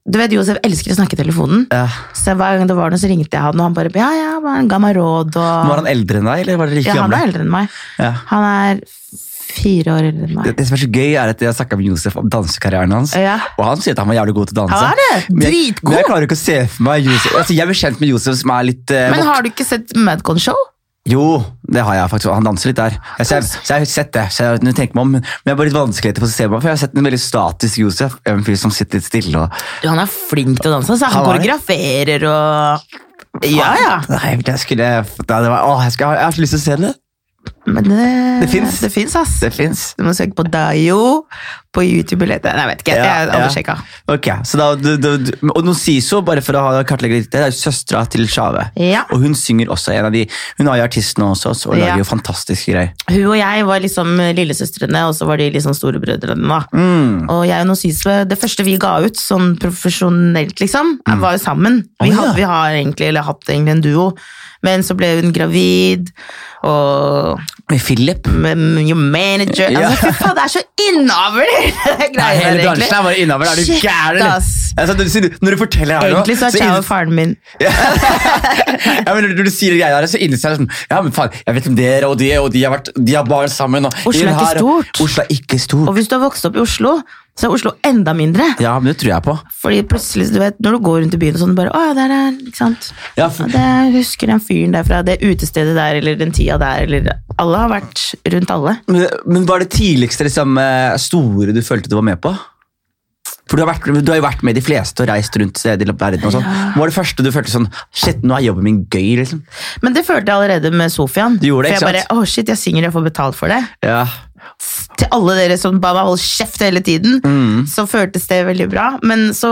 S2: Du vet, Josef elsker å snakke i telefonen.
S1: Ja.
S2: Så hver gang det var noe, så ringte jeg han, og han bare ja, ja, bare han ga meg råd. Og...
S1: Var han eldre enn deg, eller var dere like
S2: ja, han
S1: gamle?
S2: er eldre enn meg.
S1: Ja.
S2: Han er fire år eldre enn
S1: Det,
S2: meg.
S1: det som er så gøy, er at jeg snakka med Josef om dansekarrieren hans.
S2: Ja.
S1: Og han sier at han var jævlig god til å danse.
S2: Han er det!
S1: Men jeg,
S2: Dritgod!
S1: men jeg klarer ikke å se for meg Josef altså, Jeg er bekjent med Josef, som er litt eh,
S2: Men
S1: vok-
S2: har du ikke sett Madcon-show?
S1: Jo, det har jeg faktisk. Han danser litt der. Jeg, så, jeg, så jeg har sett det. Så jeg, nå tenker jeg meg om, men jeg har bare litt vanskeligheter for å se meg, for jeg har sett en veldig statisk Josef. En fyr som sitter litt stille og
S2: Han er flink til å danse. Så han,
S1: Han er det.
S2: koreograferer og Ja, ja.
S1: Nei, jeg skulle Nei, det var, åh, jeg, skal, jeg har så lyst til å se det.
S2: Men det,
S1: Det finnes.
S2: Det fins, ass.
S1: Det fins.
S2: Du må søke på Dayo på YouTube. Eller, nei, jeg vet ikke.
S1: Ja,
S2: jeg har
S1: ja.
S2: aldri sjekka.
S1: Ok, så da, du, du, du, Og Nonsiso, bare for å ha kartlegge litt, det er jo søstera til Shave.
S2: Ja.
S1: Og hun synger også en av de Hun har jo artist nå også, så, og
S2: Ja.
S1: lager jo fantastiske greier.
S2: Hun og jeg var liksom lillesøstrene, og så var de liksom storebrødrene. da.
S1: Mm.
S2: Og jeg og Nosiso, det første vi ga ut sånn profesjonelt, liksom, var jo sammen.
S1: Mm. Å,
S2: Vi,
S1: ja.
S2: hadde, vi har egentlig, eller hatt egentlig en duo, men så ble hun gravid, og
S1: Med Philip.
S2: med new manager
S1: Ja.
S2: altså, Fy faen, det er så innavl! (laughs) det
S1: Nei,
S2: greier
S1: hele
S2: der, egentlig.
S1: bransjen er bare innover. Er du
S2: Shit,
S1: gæren? eller?
S2: ass.
S1: Altså, du sier- når du forteller her nå
S2: Egentlig så er Chao faren min.
S1: (laughs) ja, men Når du sier de greiene her, så innser jeg liksom Ja, men faen, jeg vet om dere og de, og de har, vært, de har barn sammen. Og
S2: Oslo er
S1: inn
S2: ikke
S1: her,
S2: stort.
S1: Oslo er ikke stort.
S2: Og hvis du har vokst opp i Oslo, så er Oslo enda mindre.
S1: Ja, men det tror jeg på.
S2: Fordi plutselig, du vet, når du går rundt i byen og sånn, bare, å, ja, der er, ikke sant?
S1: Ja, for,
S2: Ja, det jeg husker den fyren der fra det utestedet der, eller den tida der, eller alle har vært rundt alle.
S1: Men, men var det tidligste liksom, eh, store du følte du var med på? For du har, vært, du har jo vært med de fleste og reist rundt steder i verden. og sånn. Hva var det første du følte sånn Shit, nå er jobben min gøy, liksom.
S2: Men det følte jeg allerede med Sofian.
S1: Du gjorde det,
S2: for
S1: ikke
S2: jeg
S1: sant?
S2: bare, å shit, jeg synger, jeg får betalt for det.
S1: Ja.
S2: Til alle dere som bare holder kjeft hele tiden,
S1: Mm.
S2: så føltes det veldig bra. Men så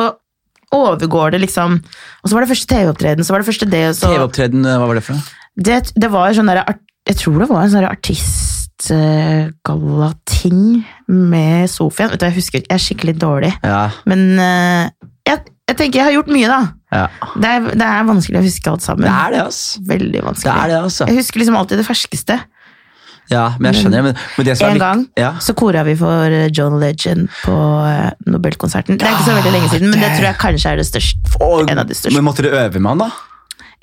S2: overgår det liksom, og så var det første TV-opptreden, så var det første det, og så...
S1: TV-opptreden, eh, hva var det for noe?
S2: Det, det var jo sånn der, art- jeg tror det var en sånn der artistgalla-ting med Sofian. Vet du, jeg husker, jeg er skikkelig dårlig.
S1: Ja,
S2: Men eh, jeg, jeg tenker jeg har gjort mye, da.
S1: ja.
S2: Det er, det er vanskelig å huske alt sammen.
S1: Det er det, altså.
S2: Veldig vanskelig.
S1: Det er det, altså.
S2: Jeg husker liksom alltid det ferskeste.
S1: Ja, men jeg skjønner. Men, men det som er
S2: En
S1: litt-
S2: gang
S1: Ja.
S2: så kora vi for eh, John Legend på eh, Nobelkonserten. Det er ikke så veldig lenge siden, men
S1: Ah,
S2: det tror jeg kanskje er det største.
S1: Og,
S2: En av de største.
S1: Men måtte dere øve
S2: (laughs)
S1: med han, da?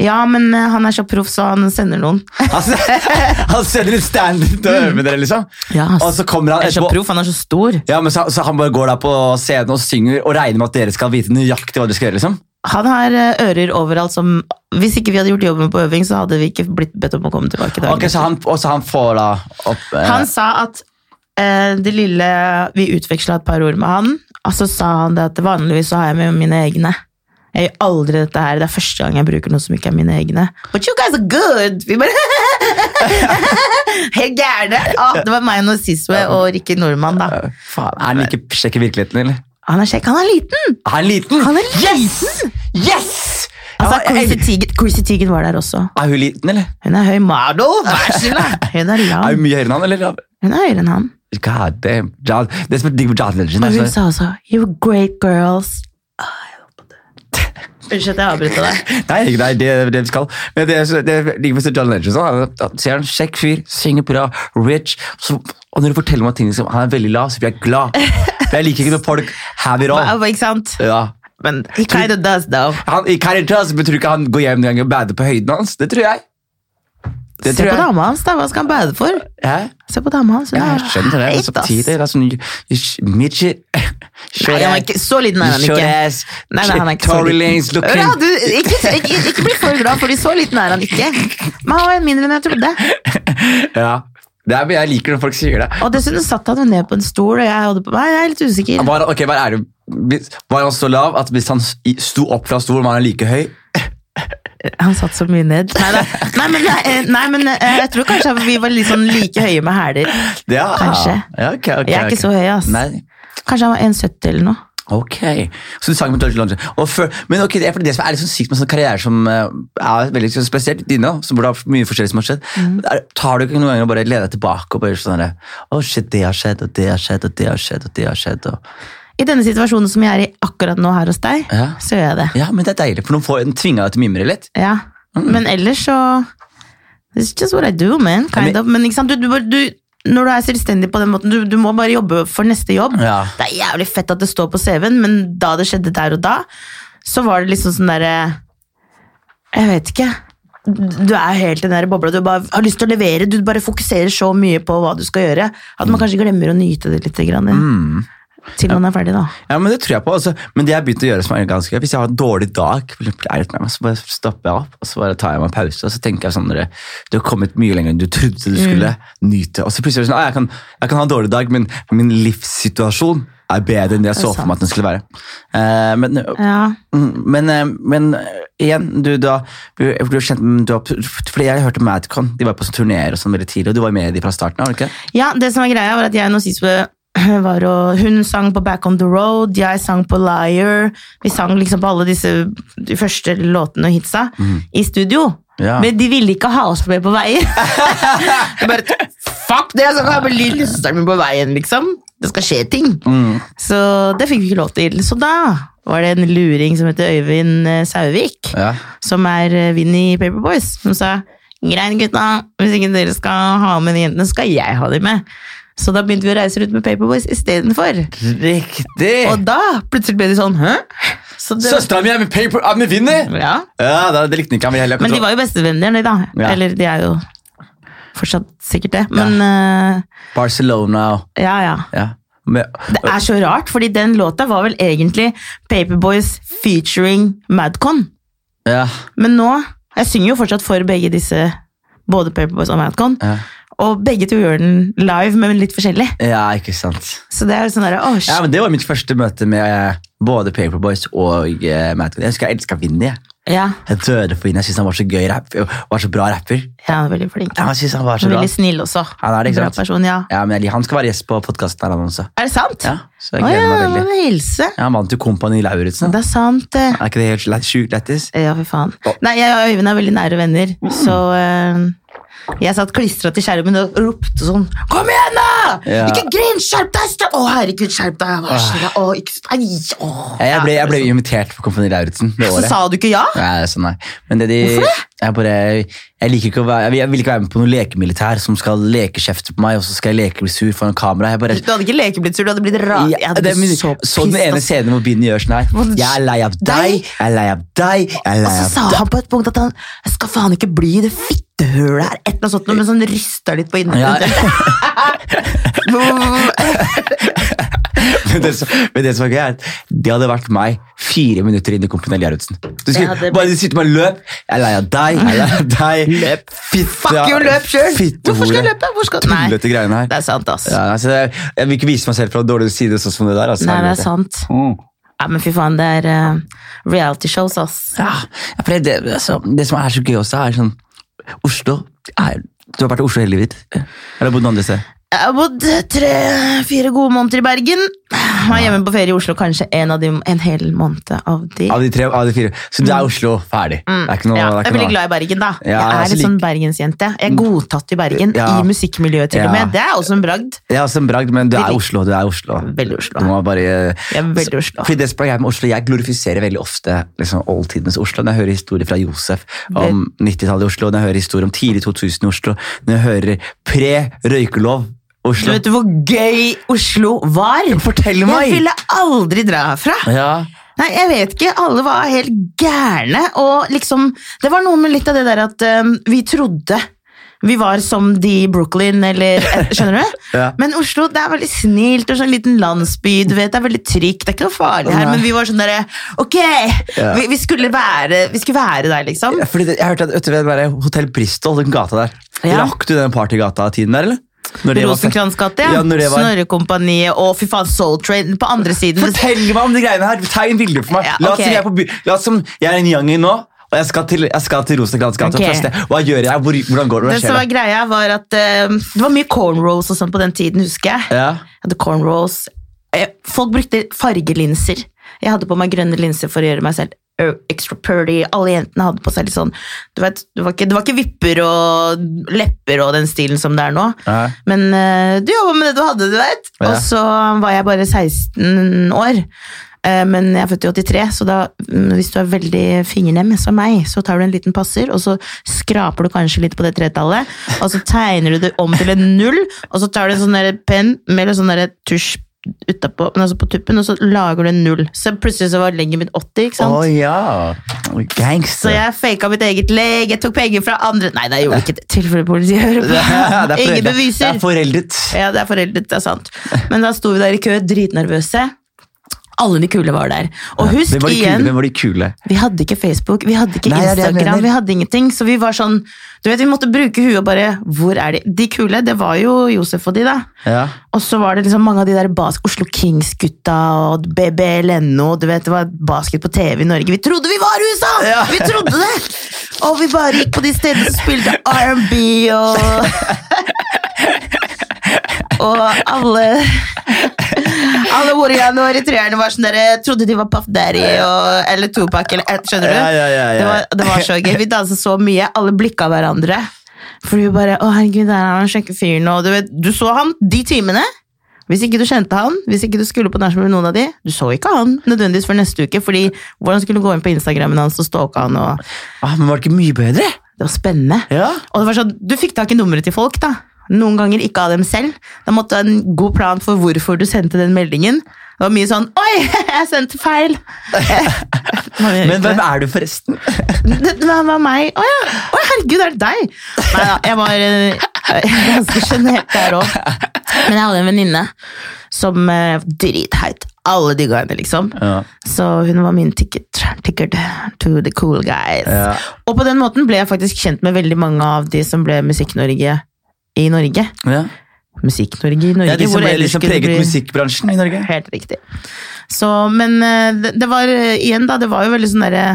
S2: Ja, men eh, han er så proff, så han sender noen.
S1: Altså, (laughs) han sender en standup til å øve med dere, liksom?
S2: Ja, ass.
S1: Og så kommer han
S2: Han er så
S1: etterpå.
S2: proff, han er så stor.
S1: Ja, men så, så han bare går da på scenen og synger og regner med at dere skal vite nøyaktig hva dere skal gjøre? liksom?
S2: Han har eh, ører overalt som Hvis ikke vi hadde gjort jobben på øving, så hadde vi ikke blitt bedt om å komme tilbake. dagen
S1: Ok, så han, og så han får da opp eh,
S2: Han sa at eh, det lille Vi utveksla et par ord med han, og så sa han det at vanligvis så har jeg med mine egne. Jeg gjør aldri dette her. Det er første gang jeg bruker noe som ikke er mine egne. But you guys are good! Vi bare (laughs) Helt gærne! Ah, det var meg og Siswe og Rikke Nordmann, da.
S1: Faen, Er han ikke sjekk i virkeligheten, eller?
S2: Han er kjekk. Han er liten!
S1: Er han liten?
S2: Han er liten!
S1: Yes! yes!
S2: Altså,
S1: Ja,
S2: Chrissy
S1: jeg-
S2: Teigen- Chrissy Teigen var der også.
S1: er hun liten, eller?
S2: Hun er høy Mardo! Vær så snill! Hun er
S1: Er
S2: lang.
S1: hun mye høyere enn han, eller?
S2: Hun er høyere enn han.
S1: God damn. John, det som er digg med John altså. Legend
S2: Og
S1: er
S2: hun
S1: så-
S2: sa også 'You're great girls'. Ah, (laughs) Unnskyld at jeg avbryter deg.
S1: Nei, ikke det, det, er det vi skal. Men det, er- det er digg med Sir John Legend sånn, han- han ser han kjekk fyr, synger bra, rich. Så, og når du forteller meg ting som han er veldig lav, så blir jeg glad. For jeg liker ikke når folk have
S2: (laughs)
S1: it all.
S2: Wow, ikke sant?
S1: Ja.
S2: Men he kind of does, though.
S1: Han, I Caritas betyr ikke han går hjem noen gang og bader på høyden hans. Det tror jeg. Det
S2: Se
S1: tror
S2: på
S1: jeg.
S2: dama hans, da. Hva skal han bade for?
S1: Hæ?
S2: Se på dama hans. Hun
S1: Ja,
S2: er
S1: jeg skjønner det. Men
S2: heit, ass.
S1: samtidig det er sånn you sh- (laughs) midget
S2: Nei, han er ikke, så liten er han
S1: Short
S2: ikke.
S1: ass.
S2: Nei, nei, han er ikke så
S1: Tory
S2: liten.
S1: Lanez looking.
S2: Ja, du, ikke, ikke, ikke bli for glad, fordi så liten er han ikke. Men han var mindre enn jeg trodde.
S1: Ja. Det er, jeg liker når folk sier det.
S2: Og dessuten satt han jo ned på en stol, og jeg hadde på meg Jeg er litt usikker.
S1: Var, ok, hva er det? Hvis- Var han så lav at hvis han s- i- sto opp fra stolen, var han like høy?
S2: Han satt så mye ned. Nei, da. nei men, nei, nei, men eh, jeg tror kanskje vi var litt sånn like høye med hæler.
S1: Ja.
S2: Kanskje.
S1: Ja, ok, ok,
S2: Jeg er
S1: ok.
S2: ikke så høy, ass.
S1: Nei.
S2: Kanskje han var 1,70 eller noe.
S1: Ok, så du sang med George London. Og før, men ok, det er fordi det som er litt sånn sykt med sånn karriere som eh, er veldig sånn spesielt din nå, som burde ha mye forskjellig som har skjedd, er, tar du ikke noen ganger og bare leder deg tilbake og bare sånn der, å shit, det har skjedd, og det har skjedd, og det har skjedd, og det har skjedd, og...
S2: I denne situasjonen som jeg er i akkurat nå her hos deg,
S1: Ja.
S2: så gjør jeg det.
S1: Ja, men det er deilig, for nå får den tvinga deg til å mimre litt.
S2: Ja.
S1: Mm.
S2: Men ellers så It's just what I do, man. Kind
S1: men-
S2: of. Men ikke sant? Du, du, bare- du, når du er selvstendig på den måten, du, du må bare jobbe for neste jobb.
S1: Ja.
S2: Det er jævlig fett at det står på CV-en, men da det skjedde der og da, så var det liksom sånn derre Jeg vet ikke. Du er helt i den der bobla. Du bare har lyst til å levere. Du bare fokuserer så mye på hva du skal gjøre, at man kanskje glemmer å nyte det litt. Grann, Til man er ferdig, da.
S1: Ja, men det tror jeg på. Altså. Men det jeg har begynt å gjøre som er ganske gøy, hvis jeg har en dårlig dag, for eksempel er litt med meg, så bare stopper jeg opp og så bare tar jeg meg en pause. Og så tenker jeg sånn dere, Du har kommet mye lenger enn du trodde du skulle
S2: Mm.
S1: nyte. Og så plutselig er det sånn, «Ah, jeg kan, jeg kan ha en dårlig dag, men min livssituasjon er bedre enn det jeg
S2: Det er
S1: så for meg at den skulle være. Eh, men,
S2: Ja.
S1: Mm, Men, eh, men eh, igjen, du da du, du er kjent, med- du har, Fordi jeg hørte Madcon, de var på sånn turneer og sånn veldig tidlig, og du var med i de fra starten av, var du ikke?
S2: Ja, det som var greia var (clears throat) at jeg og Nozizwe var og hun sang på Back on the Road, jeg sang på Liar. Vi sang liksom på alle disse de første låtene og hitsa i studio.
S1: Ja.
S2: Men de ville ikke ha oss med på veien. Jeg bare, Fuck det! altså, Jeg skal ha med lillesøsteren min på veien, liksom. Det skal skje ting. Så det fikk vi ikke lov til. Så da var det en luring som heter Øyvind eh, Sauvik
S1: Ja.
S2: som er eh, Vinnie Paperboys, som sa Grein gutta, hvis ikke dere skal ha med de jentene, skal jeg ha de med. Så da begynte vi å reise rundt med Paperboys istedenfor. Og
S1: Riktig!
S2: da plutselig ble de sånn Hæ? Så det,
S1: Søstera mi er med paper, er med vinner!
S2: ja.
S1: Ja, da- det likte ikke han. ville heller ha
S2: Men de
S1: kontroll.
S2: var jo bestevenner, de, da.
S1: Ja.
S2: Eller de er jo fortsatt sikkert det. Men eh,
S1: Barcelona og
S2: ja, ja.
S1: ja. Med,
S2: Det er så rart, fordi den låta var vel egentlig Paperboys featuring Madcon.
S1: ja,
S2: Men nå Jeg synger jo fortsatt for begge disse, både Paperboys og Madcon.
S1: ja.
S2: Og begge to gjør den live, men litt forskjellig.
S1: ja, ikke sant.
S2: Så det er jo sånn der, åh,
S1: Ja,
S2: shit.
S1: men Det var mitt første møte med eh, både Paperboys og eh, Madcon. Jeg husker jeg elska Vinni. Jeg.
S2: ja.
S1: jeg døde for Vinni. Jeg syntes han var så gøy rapp, var så bra rapper.
S2: ja, han er veldig flink.
S1: Ja, jeg synes han var så
S2: Han er
S1: bra.
S2: veldig snill også.
S1: Han er det, ikke
S2: Bra
S1: sant?
S2: person, ja.
S1: Ja, men jeg- Han skal være gjest på podkasten her, han også.
S2: Er det sant?
S1: Ja, så jeg
S2: Å
S1: gleder
S2: ja,
S1: meg
S2: han
S1: veldig.
S2: vil hilse.
S1: Ja, Han vant jo Kompani Lauritzen. da.
S2: Det er sant, det.
S1: Er ikke det helt lett- sjukt lættis?
S2: Ja, fy faen. Nei, jeg og Øyvind er veldig nære venner, så eh, jeg satt klistret til skjermen og ropte sånn, kom igjen da!
S1: Ja.
S2: Ikke grin, skjerp deg! stra- Å, herregud, skjerp deg! Jeg var sånn, Å, ikke... Nei, å.
S1: Ja, Jeg ble, jeg ble invitert på Kompani Lauritzen det
S2: Så
S1: året.
S2: sa du ikke ja?
S1: Nei, sånn nei. Men det de,
S2: Hvorfor
S1: jeg, bare, jeg, liker ikke å være, jeg vil- jeg vil ikke være med på noen lekemilitær som skal lekekjefte på meg, og så skal jeg leke bli sur foran kamera. Jeg bare,
S2: Du hadde ikke lekeblitt sur, du hadde blitt rar. Jeg
S1: ja,
S2: hadde
S1: det, men,
S2: blitt
S1: så,
S2: pissed,
S1: den ene
S2: ass.
S1: scenen hvor Binni gjør sånn her.
S2: Hva-
S1: Jeg er lei av deg, jeg er lei av deg, jeg er
S2: Og
S1: lei
S2: så
S1: av
S2: sa han på et punkt at han jeg skal faen ikke bli i det fittehølet her. Et eller annet sånt, noe, men sånn rysta litt på (laughs)
S1: Ja.
S2: innvendig.
S1: (laughs) (laughs) Men det, som, men det som er gøy, er at det hadde vært meg fire minutter inn i Kompani Lauritzen. Du skulle
S2: Ja, det-
S1: bare sitte med løp. Jeg er lei av deg, jeg er lei av
S2: (laughs)
S1: deg. Løp. Fitte,
S2: Fuck you, løp sjøl! Hvorfor skal jeg løpe? Hvor skal... Nei,
S1: Tullete greiene her.
S2: det er sant, ass.
S1: Ja, altså, jeg, jeg vil ikke vise meg selv fra dårlig side sånn som det der. Altså,
S2: Nei, det er
S1: helvete.
S2: sant.
S1: Mm.
S2: Ja, men fy faen, det er eh, reality shows, ass.
S1: Ja, for det, det, altså, det som er så gøy også, er sånn Oslo er, Du har vært i Oslo hele livet? Eller bodd andre steder?
S2: Jeg har bodd tre-fire gode måneder i Bergen. Var hjemme på ferie i Oslo kanskje en, av de, en hel måned av de.
S1: Av de tre, av de fire. Så du er Oslo ferdig. Det er ikke noe,
S2: Mm. ja,
S1: det er
S2: jeg er
S1: ikke
S2: veldig
S1: noe.
S2: glad i Bergen, da.
S1: Ja,
S2: jeg
S1: altså, Mm.
S2: er litt sånn bergensjente. Jeg er godtatt i Bergen,
S1: Ja.
S2: i musikkmiljøet til
S1: Ja.
S2: og med. Det er også en bragd.
S1: Det er også en bragd, men du er
S2: Veldig.
S1: Oslo. Du er Oslo.
S2: Veldig Oslo.
S1: Du må bare... eh,
S2: Jeg er veldig Oslo.
S1: Fordi det som er greia med Oslo, Jeg glorifiserer veldig ofte liksom, oldtidens Oslo. Når jeg hører historier fra Josef om 90-tallet i Oslo, når jeg hører historier om tidlig 2000 i Oslo, når jeg hører pre-røykelov
S2: Du
S1: Oslo
S2: vet hvor gøy Oslo var?
S1: Fortell
S2: Jeg
S1: meg!
S2: ville aldri dra herfra.
S1: Ja,
S2: Nei, jeg vet ikke. Alle var helt gærne. Og liksom, det var noe med litt av det der at øhm, vi trodde vi var som de i Brooklyn, eller eh,
S1: (laughs)
S2: Skjønner du?
S1: Ja.
S2: Men Oslo det er veldig snilt og sånn liten landsby. du vet, Det er veldig trygt. Det er ikke noe farlig her,
S1: Nei.
S2: men vi var sånn derre Ok!
S1: Ja.
S2: Vi, vi, skulle være, vi skulle være der, liksom.
S1: fordi det, jeg hørte at vet du, det var Hotell Bristol, den gata der
S2: Ja.
S1: Rakk du den partygata-tiden der, eller? Når det var-
S2: Rosenkrantz gate,
S1: Ja,
S2: ja.
S1: når det var-
S2: Snorrekompaniet og fy faen Soul Train på andre siden.
S1: Fortell meg om de greiene her! Tegn bilder for meg!
S2: Ja,
S1: La oss
S2: ok.
S1: si jeg er på by La oss som jeg er en youngie nå, og jeg skal til, jeg skal til Rosenkrantz gate. og
S2: Ok.
S1: feste. Hva gjør jeg? Hvor, hvordan går det?
S2: Det
S1: Hva
S2: som var
S1: skjer?
S2: greia var at eh, Det var mye cornrows og sånn på den tiden, husker jeg.
S1: da? Ja.
S2: Jeg hadde cornrows. Eh, folk brukte fargelinser. Jeg hadde på meg grønne linser for å gjøre meg selv ø, extra pretty. Alle jentene hadde på seg litt sånn du vet, det, var ikke, det var ikke vipper og lepper og den stilen som det er nå.
S1: Ja.
S2: Men eh, du jobba med det du hadde, du vet.
S1: Ja.
S2: Og så var jeg bare 16 år. Eh, Men jeg er født i 83, så da, mm, hvis du er veldig fingernem som meg, så tar du en liten passer, og så skraper du kanskje litt på det tretallet, og så tegner du det om til en null, og så tar du en sånn der penn med en sånn der tusj utapå, men altså på tuppen, og så lager du en null. Så plutselig så var legget mitt 80, ikke sant?
S1: Å ja! Gangster.
S2: Så jeg faka mitt eget legg, jeg tok penger fra andre Nei, nei, jeg gjorde ikke det. Tilfelle politiet hører
S1: (laughs) (laughs) Det er foreldet.
S2: på. Ingen
S1: Det
S2: beviser.
S1: er foreldet.
S2: Ja, det er foreldet, det er sant. Men da sto vi der i kø, dritnervøse. Alle de kule var der. Og husk
S1: Hvem var de kule?
S2: igjen
S1: Hvem var de kule?
S2: vi hadde ikke Facebook, vi hadde ikke
S1: Nei, det er det jeg
S2: Instagram,
S1: mener.
S2: vi hadde ingenting. Så vi var sånn Du vet, vi måtte bruke huet og bare Hvor er de? De kule, det var jo Josef og de, da.
S1: Ja.
S2: Og så var det liksom mange av de der bas Oslo Kings-gutta og BB Leno. Du vet, det var basket på TV i Norge. Vi trodde vi var i USA!
S1: Ja.
S2: Vi trodde det! Og vi bare gikk på de stedene som spilte R&B og Og alle Alle oriane og eritreerne var sånn der Trodde de var Puff Daddy og, eller Tupac eller eh, Skjønner du?
S1: Ja, ja, ja, ja.
S2: Det, var, det var så gøy. Vi dansa så mye. Alle blikka hverandre. For vi bare Å, herregud, der er han kjekke fyren. Og du vet, du så han de timene. Hvis ikke du kjente han, hvis ikke du skulle på nachspiel med noen av de, du så ikke han nødvendigvis før neste uke, fordi hvordan skulle du gå inn på Instagrammen hans og stalke han, og
S1: Ah, men var det ikke mye bedre?
S2: Det var spennende.
S1: Ja.
S2: Og det var sånn, du fikk tak i nummeret til folk, da. Noen ganger ikke av dem selv. Da måtte du ha en god plan for hvorfor du sendte den meldingen. Det var mye sånn 'Oi, (laughs) jeg sendte feil'. Man gjør
S1: Men
S2: ikke
S1: hvem
S2: det.
S1: er du, (laughs) forresten?
S2: det, det var meg. Å ja. Å, herregud, er det deg? Nei da, jeg var eh, (laughs) ganske sjenert der òg. Men jeg hadde en venninne som eh, var dritheit. Alle digga henne, liksom.
S1: Ja.
S2: Så hun var min ticket, ticket to the cool guys.
S1: Ja.
S2: Og på den måten ble jeg faktisk kjent med veldig mange av de som ble Musikk-Norge i Norge.
S1: Ja.
S2: Musikk-Norge i Norge.
S1: Ja, de som
S2: hvor
S1: ble
S2: ellers
S1: liksom
S2: skulle det
S1: preget
S2: bli-
S1: musikkbransjen i Norge.
S2: Helt riktig. Så, men eh, det, det var eh, igjen da, det var jo veldig sånn derre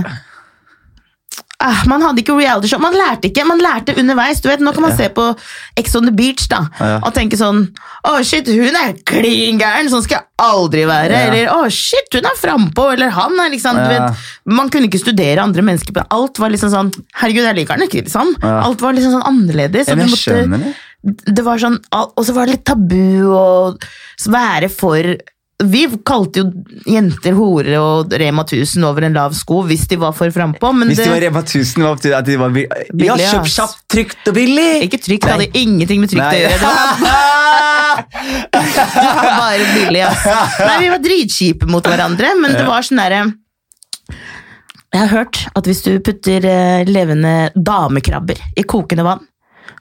S2: Ah, man hadde ikke reality show, man lærte ikke, man lærte underveis. du vet, Nå kan man se på Ex on the beach da,
S1: Ja.
S2: og tenke sånn Å, shit, hun er klin gæren, sånn skal jeg aldri være.
S1: Ja.
S2: Eller å, shit, hun er frampå, eller han er liksom du
S1: Ja.
S2: vet, Man kunne ikke studere andre mennesker. på Alt var liksom sånn Herregud, jeg liker han ikke, liksom.
S1: Ja.
S2: Alt var liksom sånn annerledes.
S1: Ja,
S2: og
S1: men
S2: du
S1: jeg
S2: måtte-
S1: skjønner det.
S2: det var sånn, og så var det litt tabu å være for Vi kalte jo jenter hore og Rema 1000 over en lav sko hvis de var for frampå, men
S1: Hvis
S2: det
S1: de var Rema 1000, hva betyr det at de var bil- Ja,
S2: Billig,
S1: kjøp
S2: ass.
S1: kjapt, trygt og billig!
S2: ikke trygt. Det hadde ingenting med trygt å gjøre. Det var, (laughs) det var bare billig, ass. Nei, vi var dritkjipe mot hverandre, men det var sånn derre Jeg har hørt at hvis du putter eh, levende damekrabber i kokende vann,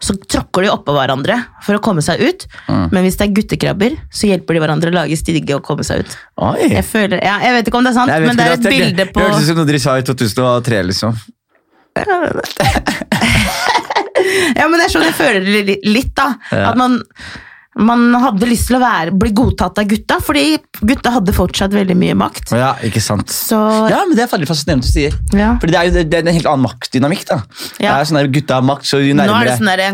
S2: så tråkker de oppå hverandre for å komme seg ut.
S1: Mm.
S2: Men hvis det er guttekrabber, så hjelper de hverandre å lage stige og komme seg ut.
S1: (laughs) Oi.
S2: Jeg føler, ja, jeg vet ikke om det er sant,
S1: Nei, jeg vet
S2: men det er et
S1: ikke, det
S2: bilde
S1: det
S2: på
S1: Hørtes ut som noe dere sa i 2003, liksom.
S2: Ja, men det er sånn jeg føler det li- litt, da.
S1: Ja.
S2: At man, man hadde lyst til å være, bli godtatt av gutta, fordi gutta hadde fortsatt veldig mye makt.
S1: Ja, ikke sant.
S2: Så
S1: Ja, men det er veldig fascinerende du sier.
S2: Ja.
S1: Fordi det er jo det- det er en helt annen maktdynamikk, da. Det
S2: Ja.
S1: er jo sånn der gutta har makt, så jo
S2: nå er
S1: nærmere
S2: det sånn derre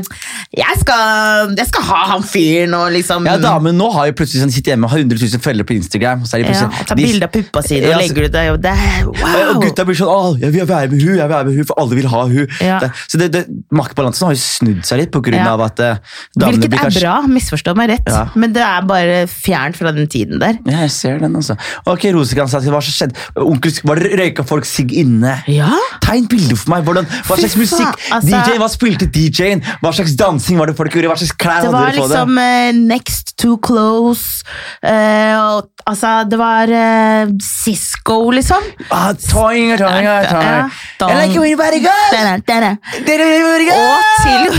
S2: jeg, skal- 'Jeg skal ha han fyren', og liksom
S1: Ja, damen nå har jo plutselig sånn, sitter hjemme og har 100 000 følgere på Instagram. og Så er de
S2: ja,
S1: plutselig,
S2: Ta
S1: de-
S2: bilde av puppa sine
S1: Ja,
S2: og
S1: så-
S2: legger ut det. Og det er- wow!
S1: Og gutta blir sånn Åh, jeg vil være med hun, jeg vil være med hun, for alle vil ha hun.
S2: Ja.
S1: Det, så det, det, maktbalansen har jo snudd seg litt på grunn
S2: Ja.
S1: av at eh, damene
S2: Hvilket
S1: blir
S2: er
S1: kanskje
S2: bra, misforstå meg rett,
S1: Ja.
S2: men det er bare fjernt fra den tiden der.
S1: Ja, jeg ser den, altså. Ok, Rosekranssaken, hva som skjedde? Onkel, var det røyka folk sigg inne?
S2: Ja.
S1: Tegn bilder for meg. Hvordan, hva
S2: Fy
S1: slags musikk?
S2: faen, altså.
S1: DJ, hva spilte DJ-en? Hva slags dansing var det folk gjorde? Hva slags klær
S2: Det
S1: hadde
S2: var
S1: dere på
S2: liksom eh, Next Too Close eh, og, Altså, det var eh, Cisco, liksom.
S1: det? Ah, toing, toing,
S2: Ja,
S1: toing.
S2: toing.
S1: I like you, very good!
S2: Der, der, der.
S1: Dere, very good!
S2: Og til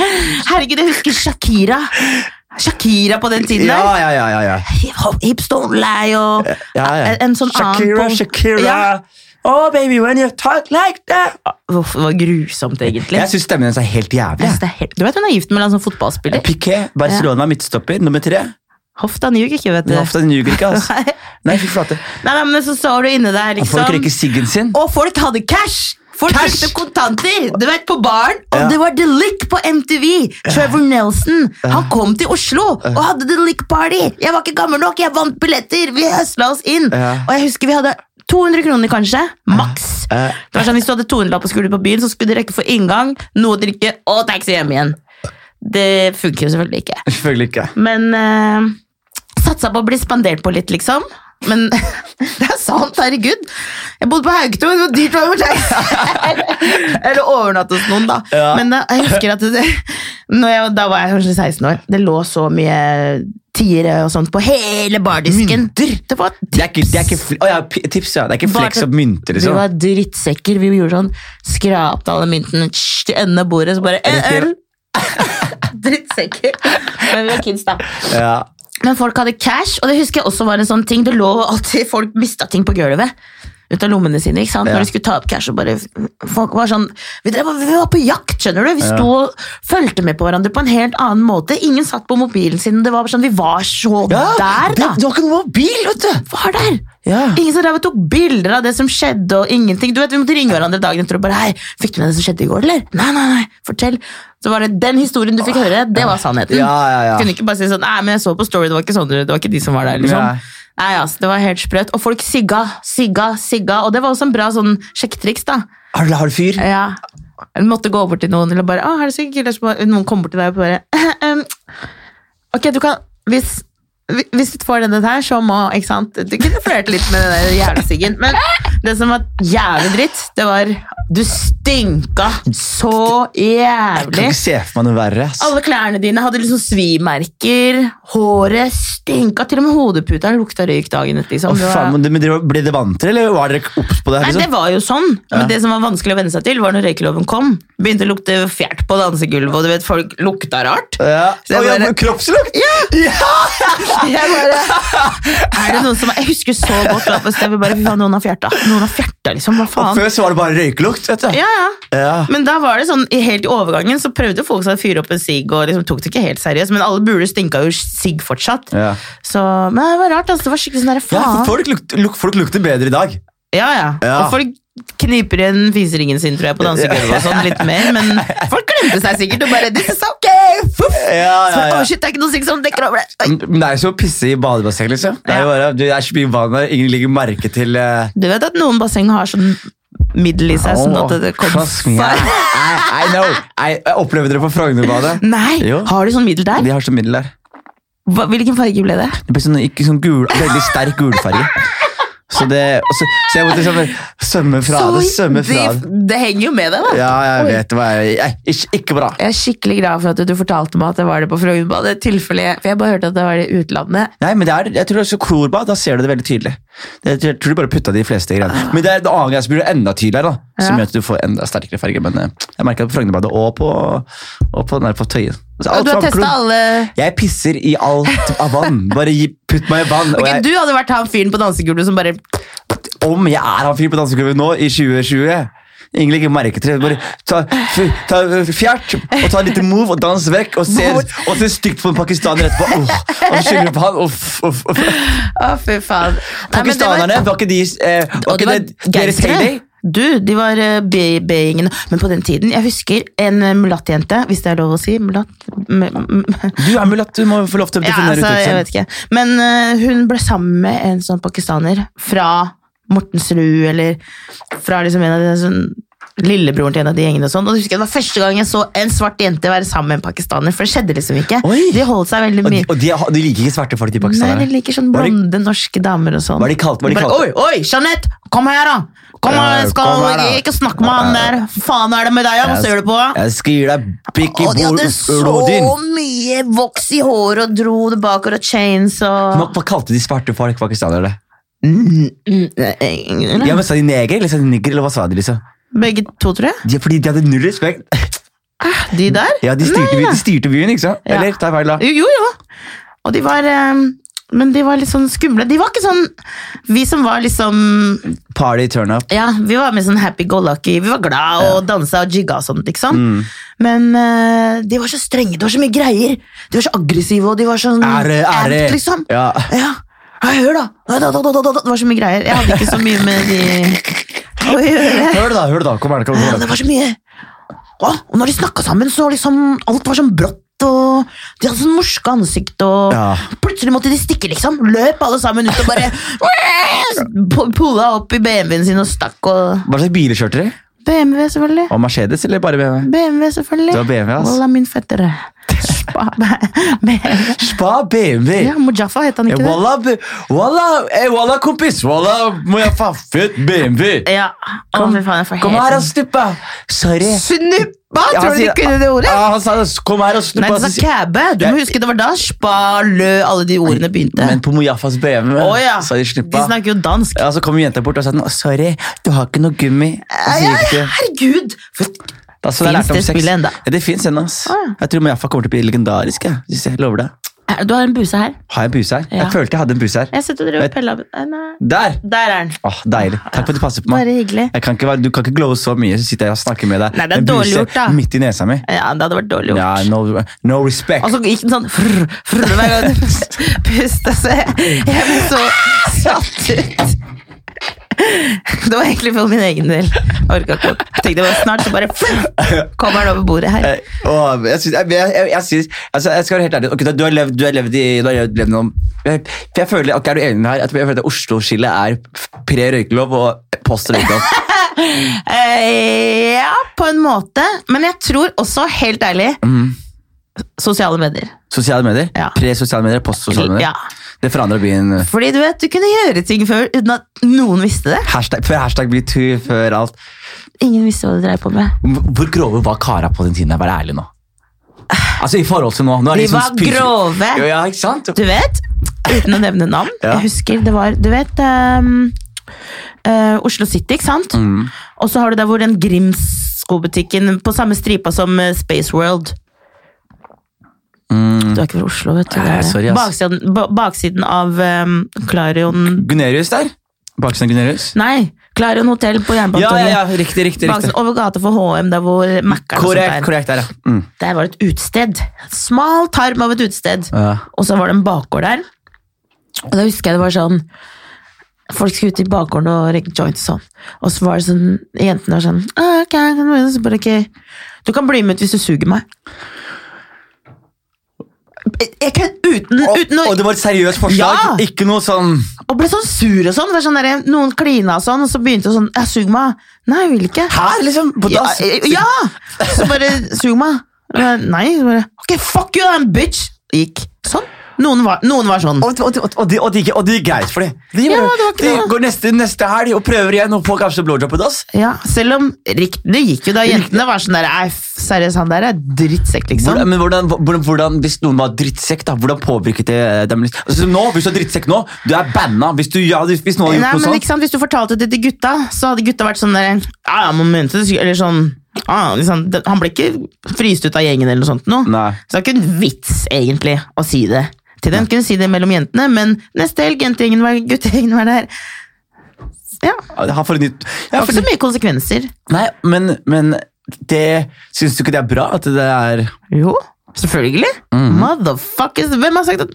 S2: (laughs) Herregud, jeg husker Shakira. Shakira på den tiden
S1: Ja,
S2: der.
S1: ja, ja, ja, ja.
S2: Hip- Hips don't lie og
S1: ja, ja.
S2: En, en sånn
S1: Shakira,
S2: annen
S1: Shakira.
S2: Ja.
S1: Oh, baby, when you talk like that.
S2: Uff, Det var grusomt, egentlig.
S1: Jeg syns stemmen hennes er helt jævlig.
S2: Jeg synes det er helt- Du vet hun er gift med en sånn fotballspiller?
S1: Piquet, Barcelona, midtstopper, nummer tre.
S2: Hofta ljuger ikke, vet du.
S1: Hofta ljuger ikke, ass. Nei, fy flate.
S2: (laughs) Nei, nei, men så står du inne der, liksom.
S1: Folk røyker siggen sin.
S2: Og folk hadde cash! Folk
S1: Cash!
S2: brukte kontanter du vet, på baren, og
S1: Ja.
S2: det var The Lick på MTV! Trevor Nelson han kom til Oslo og hadde The Lick Party! Jeg var ikke gammel nok, jeg vant billetter! Vi høsla oss inn!
S1: Ja.
S2: Og jeg husker vi hadde 200 kroner, kanskje. Maks.
S1: Ja.
S2: Det var sånn, Hvis du hadde 200 lapp og skulle på byen, så skulle du rekke for inngang, noe å drikke og taxi hjem igjen. Det funker jo selvfølgelig ikke.
S1: Selvfølgelig ikke.
S2: Men eh, satsa på å bli spandert på litt, liksom.
S1: (laughs)
S2: men det er sant, herregud. Jeg bodde på Haugto, det var dyrt hver
S1: (laughs)
S2: fortell. Eller overnatte hos noen, da.
S1: Ja.
S2: Men da, jeg husker at det, når jeg, da var jeg kanskje 16 år. Det lå så mye tiere og sånt på hele bardisken. Det var
S1: Det er ikke, det er ikke fl- Å ja, p- tips, ja. Det er ikke
S2: Bare-
S1: flex og mynter,
S2: Vi
S1: liksom.
S2: var drittsekker. Vi gjorde sånn Skrapte alle myntene tsj, til enden av bordet, så bare en
S1: Rett i-
S2: øl! (laughs) drittsekker. Men vi var kids, da.
S1: Ja.
S2: Men folk hadde cash, og det husker jeg også var en sånn ting. Det lå alltid folk mista ting på gulvet. Ut av lommene sine, ikke sant?
S1: Ja.
S2: Når de skulle ta opp cash og bare Folk var sånn Vi, drev, vi var på jakt, skjønner du. Vi sto og fulgte med på hverandre på en helt annen måte. Ingen satt på mobilen sin. Det var sånn Vi var så der, da.
S1: Det, det var ikke noe mobil, vet du!
S2: var der!
S1: Ja.
S2: Ingen som drev og tok bilder av det som skjedde, og ingenting. Du vet, Vi måtte ringe hverandre dagen etter og bare Hei, fikk du med det som skjedde i går, eller? Nei, nei, nei, fortell. Så var det den historien du fikk høre, det var sannheten.
S1: Ja, ja, ja.
S2: Kunne ikke bare si sånn Nei, men jeg så på Story, det var ikke sånn, det var ikke de som var der, liksom.
S1: Nei.
S2: Nei. altså, Det var helt sprøtt. Og folk sigga, sigga, sigga. Og det var også en bra sånn sjekketriks, da.
S1: Har du, har du fyr?
S2: Ja. Hun måtte gå bort til noen eller bare, «Å, her er det så kult», så bare- Noen kommer bort til deg og bare (laughs) «Ehm, Ok, du kan Hvis, hvi- hvis du får denne her, så må ikke sant? Du kunne flørte litt med den der jævla siggen. Men det som var jævlig dritt, det var Du stinka så
S1: Jeg kan
S2: jævlig.
S1: ikke se for meg noe verre. ass.
S2: Alle klærne dine hadde liksom svimerker. Håret stinka. Til og med hodeputa lukta røyk dagen etter. Liksom.
S1: Å,
S2: Det var-
S1: faen, men det- men dere- Ble det vant til, eller var dere obs på det? her,
S2: Nei, det
S1: Liksom?
S2: var jo sånn. Men
S1: Ja.
S2: det som var vanskelig å venne seg til, var når røykeloven kom. Begynte å lukte fjert på dansegulvet, og du vet, folk lukta rart. (laughs)
S1: Ja.
S2: Så jeg
S1: Å, ja,
S2: bare-
S1: men Kroppslukt! Ja!
S2: Jeg bare, er det noen som Jeg husker så godt da på stedet, bare, fy faen, noen har fjerta. Noen har fjerta, liksom. Hva
S1: Og
S2: faen?
S1: før så var det bare røykelukt, vet du.
S2: Ja, ja.
S1: Ja.
S2: Men da var det sånn, i- helt i overgangen så prøvde folk seg å fyre opp en sigg, og liksom tok det ikke helt seriøst, men alle buler stinka jo sigg fortsatt.
S1: Ja.
S2: Så, men det var rart, altså. Det var skikkelig sånn der,
S1: Ja, for
S2: faen.
S1: folk, lukter- luk, folk lukter bedre i dag.
S2: Ja, ja.
S1: Ja.
S2: Og folk kniper igjen fiseringen sin, tror jeg, på dansegulvet og sånn litt mer, men folk glemte seg sikkert og bare This is okay! Fuff!
S1: Ja,
S2: Så, «Å, shit, det er ikke noe sikkert som dekker over det. Oi.
S1: Men det er jo som å pisse i badebasseng. liksom. Det er, jo bare, det er så mye vann der, ingen legger merke til eh,
S2: Du vet at noen basseng har sånn middel i seg, sånn at det kommer
S1: Trust me, I, I, I know. I, jeg opplevde det på Frognerbadet.
S2: (laughs) Nei!
S1: Jo.
S2: Har du sånn middel der?
S1: De har sånn middel der.
S2: Hva, hvilken farge ble det?
S1: Det ble sånn, ikke sånn gul, veldig sterk gulfarge. Så, det, og så, så jeg måtte liksom svømme fra det. Svømme fra det.
S2: det, det henger jo med deg, da.
S1: Ja, jeg
S2: Oi.
S1: vet hva jeg, jeg ikke, ikke bra.
S2: Jeg er skikkelig glad for at du fortalte meg at det var det på Frognerbadet. tilfellet- For jeg bare hørte at det var det i utlandet.
S1: Nei, men det er, jeg tror det er så klorbad, da ser du det veldig tydelig. Det, jeg tror du bare putta de fleste greiene. Men det er en annen greie som blir enda tydeligere, da, som gjør
S2: Ah. Ja.
S1: at du får enda sterkere farge. Men eh, jeg merker det på Frognerbadet og på, og på, den der på Tøyen. Altså, alt
S2: Og du har
S1: fra
S2: testa
S1: klodd-
S2: alle
S1: Jeg pisser i alt av vann.
S2: (laughs)
S1: Bare gi, putt meg i vann. og
S2: Ok,
S1: jeg,
S2: Du hadde vært han fyren på dansegulvet som bare
S1: om jeg er han fyren på danseklubben nå, i 2020 Ingen legger merke til det. Bare ta, f- ta fjert og ta en liten move og dans vekk. Og se, og se stygt på en pakistaner etterpå. Uff, og skylde på han. Uff, uff, uff.
S2: Å, fy faen. Nei, men det var-
S1: Pakistanerne, var ikke de eh, var
S2: Og det
S1: ikke
S2: var
S1: det, deres
S2: gangstere.
S1: heyday?
S2: Du, de var eh, be- beingene. Men på den tiden, jeg husker en eh, mulattjente, hvis det er lov å si. Mulatt m m
S1: Du er mulatt, du må få lov til å
S2: (laughs) ja,
S1: definere
S2: altså, jeg vet
S1: uttrykket.
S2: ikke. Men eh, hun ble sammen med en sånn pakistaner fra Mortensrud, eller fra liksom en av de sånn Lillebroren til en av de gjengene og sånn. Og jeg husker Det var første gang jeg så en svart jente være sammen med en pakistaner. For det skjedde liksom ikke.
S1: Oi!
S2: De holdt seg veldig
S1: Og de,
S2: mye
S1: og de, har- de liker ikke svarte folk, de
S2: Nei, de
S1: pakistanerne.
S2: liker sånn
S1: Hva er de-
S2: blonde norske damer og sånn.
S1: Hva er de kalt? Hva er de
S2: Bare,
S1: kalt?
S2: Oi, oi, Jeanette! Kom her, da! Kom
S1: Ja,
S2: her, skal
S1: kom her, da.
S2: Ikke snakk med han der! Faen er det med deg, ja? Hva
S1: Jeg-
S2: ser du på?
S1: Jeg skal gi deg pikk i
S2: Og de hadde
S1: blodin.
S2: så mye voks i håret og dro det bakover og chains og
S1: Hva hva kalte de svarte folk pakistanere?
S2: Mm, eh,
S1: Ja, men Sa de neger eller sa de nigger? eller hva sa de liksom?
S2: Begge to, tror jeg. Ah,
S1: De, fordi de hadde null respekt.
S2: De der?
S1: Ja, De styrte, byen, de styrte byen, ikke sant?
S2: Ja.
S1: Eller? Ta feil, da.
S2: Jo, jo, jo. Og de var eh, Men de var litt sånn skumle. De var ikke sånn Vi som var liksom
S1: Party turn up.
S2: Ja, vi var med sånn happy go lucky. Vi var glad og dansa og jigga og sånt, ikke sant.
S1: Mm.
S2: Men eh, de var så strenge, det var så mye greier. De var så aggressive, og de var sånn
S1: Ære, ære.
S2: amped, liksom. Ja.
S1: Ja.
S2: Ja, Hør, da. Da, da, da, da, da, da. Det var så mye greier. Jeg hadde ikke så mye med de å gjøre.
S1: Hør det, da. hør det da, Kom her, kom
S2: Ja,
S1: her.
S2: det var så mye Å, Og når de snakka sammen, så liksom Alt var sånn brått, og de hadde sånn morske ansikt, og
S1: Ja.
S2: plutselig måtte de stikke, liksom. Løp alle sammen ut og
S1: (laughs)
S2: bare po- Pulla opp i BMW-en sin og stakk og
S1: Hva slags biler kjørte dere?
S2: BMW, selvfølgelig.
S1: Og Mercedes eller bare BMW?
S2: BMW, selvfølgelig.
S1: Det var BMW, ass.
S2: Wallah, min fetter. Spa med
S1: Spa BMW!
S2: Ja, Mujafa het han
S1: Eh,
S2: ikke det?
S1: Walla, b- walla, eh, walla, kompis! Walla, må jeg faffe ut BMW?
S2: Ja. Å, fy faen, jeg får
S1: Kom
S2: helt
S1: her og
S2: sånn-
S1: snuppa! Sorry.
S2: Snuppa!
S1: Ja,
S2: Tror du
S1: sier-
S2: du kunne det ordet?
S1: Ja, han sa det. Kom her og
S2: Nei,
S1: snuppa.
S2: du sa
S1: så sier-
S2: kæbe. Du må huske det var da spa, lø, alle de ordene begynte.
S1: Men på Mojafas BMW
S2: Å ja.
S1: sa de
S2: De
S1: snuppa.
S2: snakker jo dansk.
S1: Ja, så kom jenta bort og sa sånn, sorry, du har ikke noe gummi. Og så gikk det.
S2: Herregud! For,
S1: Da så jeg
S2: Finnes
S1: lærte om
S2: det
S1: sex.
S2: spillet enda?
S1: Ja, det fins ennå. ass.
S2: Ah.
S1: Jeg tror Mojafa kommer til å bli legendarisk. Jeg, hvis jeg lover det.
S2: Er- du har en buse her.
S1: Har jeg en buse her?
S2: Ja.
S1: Jeg følte jeg hadde en buse her.
S2: Jeg sitter og driver og peller av Nei, nei.
S1: Der!
S2: Der er den.
S1: Åh, Deilig. Takk for at du passer på meg.
S2: Ah. Bare hyggelig.
S1: Jeg kan ikke være, du kan ikke glowe så mye, så sitter jeg og snakker med deg.
S2: Nei, det er
S1: med en
S2: dårlig
S1: buse
S2: gjort, da.
S1: Midt i nesa mi.
S2: Ja, det hadde vært dårlig gjort.
S1: Ja, no, no respect.
S2: Og så gikk den sånn frr, frr, hver
S1: (laughs)
S2: gang du pusta, så jeg jeg ble så satt ut. Det var egentlig for min egen del. Jeg orka ikke opp. Tenkte det var snart, så bare frr, kommer den over bordet her.
S1: Eh, åh, jeg, synes, jeg, jeg, jeg, jeg, synes, altså, jeg skal være helt ærlig. Ok, da, du, har levd, du har levd i du har levd, levd noen jeg, for jeg føler, ok, Er du enig med meg her? Jeg føler at Oslo-skillet er pre-røykelov og
S2: (laughs)
S1: post-røykelov.
S2: Eh, ja, på en måte. Men jeg tror også, helt ærlig,
S1: Mm.
S2: sosiale medier.
S1: Sosiale medier?
S2: Ja.
S1: Pre-sosiale medier, post-sosiale medier.
S2: Ja.
S1: Det forandrer byen. eh,
S2: Fordi du vet, du kunne gjøre ting før uten at noen visste det.
S1: Hashtag, før hashtag blir tur, før alt.
S2: Ingen visste hva du dreiv på med.
S1: Hvor grove var kara på den tiden? Vær ærlig nå. Altså, i forhold til nå. nå er
S2: De
S1: det liksom
S2: var
S1: spyr-
S2: grove.
S1: Jo, ja, ikke sant?
S2: Du vet, uten å nevne navn
S1: Ja.
S2: Jeg husker det var, du vet ehm, eh, Oslo City, ikke sant?
S1: Mm.
S2: Og så har du der hvor den Grims skobutikken På samme stripa som eh, Space World Du er ikke fra Oslo, vet du
S1: Mm. Nei,
S2: det er det.
S1: sorry, ass.
S2: baksiden, ba- baksiden av ehm, Klarion
S1: Gunerius der? Baksiden av Gunerius?
S2: Nei, Klarion Hotel på
S1: Ja,
S2: Jernbanetorget
S1: ja, ja, riktig, riktig. riktig.
S2: Baksiden over gata for H&M, der hvor Mac'eren og sånt
S1: Korrekt,
S2: er.
S1: korrekt der, ja. Mm.
S2: Der var et utsted Smal tarm av et utsted
S1: ja.
S2: Og så var det en bakgård der. Og da husker jeg det var sånn Folk skulle ut i bakgården og røyke joints og sånn. Og så var det sånn Jentene var sånn «Ah, ok, kan du, være med?» så bare, «Ok, du kan bli med ut hvis du suger meg. Jeg- Jeg kan uten,
S1: Og,
S2: uten å,
S1: og det var et seriøst forslag?
S2: Ja!
S1: Ikke noe sånn
S2: og ble sånn sur og sånn. Det var sånn der, noen klina og sånn, og så begynte det sånn «Ja, Sug meg. Nei, jeg vil ikke.
S1: Her, liksom? På
S2: Ja, eh,
S1: dass?
S2: ja! Så bare sug meg. Jeg bare, Nei. Så bare, ok, fuck you, I'm bitch. Gikk. Sånn. Noen var, noen var sånn.
S1: Og, og, og, og, det, og, det gikk, og det gikk greit for dem. De,
S2: Ja,
S1: bare-
S2: det var ikke
S1: de
S2: noe.
S1: går neste, neste helg og prøver igjen og får kanskje blowjob på dass.
S2: Ja, selv om rikt- det gikk jo da jentene var sånn der «Ei, f- Seriøst, han der er drittsekk, liksom.
S1: Hvordan, men hvordan, hvordan, hvordan, hvis noen var drittsekk, da, hvordan påvirket det eh, dem? litt? Altså, nå, hvis du er drittsekk nå, du er banna. Hvis, du, ja, hvis hvis noen har
S2: Nei,
S1: gjort
S2: men
S1: noe
S2: ikke sant, Hvis du fortalte det til gutta, så hadde gutta vært sånn der Ja, ja, momentet, eller sånn ja, liksom, det- Han ble ikke fryst ut av gjengen eller noe sånt. Nå.
S1: Nei.
S2: Så det er ikke en vits, egentlig, å si det til dem. Kunne si det mellom jentene, men neste helg, jentegjengen var, guttegjengen var der. Ja, det
S1: sånt Han får en nytt ja,
S2: var
S1: for,
S2: ikke så mye konsekvenser.
S1: Nei, men, men det Syns du ikke det er bra at det er
S2: Jo, selvfølgelig.
S1: Mm.
S2: Motherfuckers, hvem har sagt at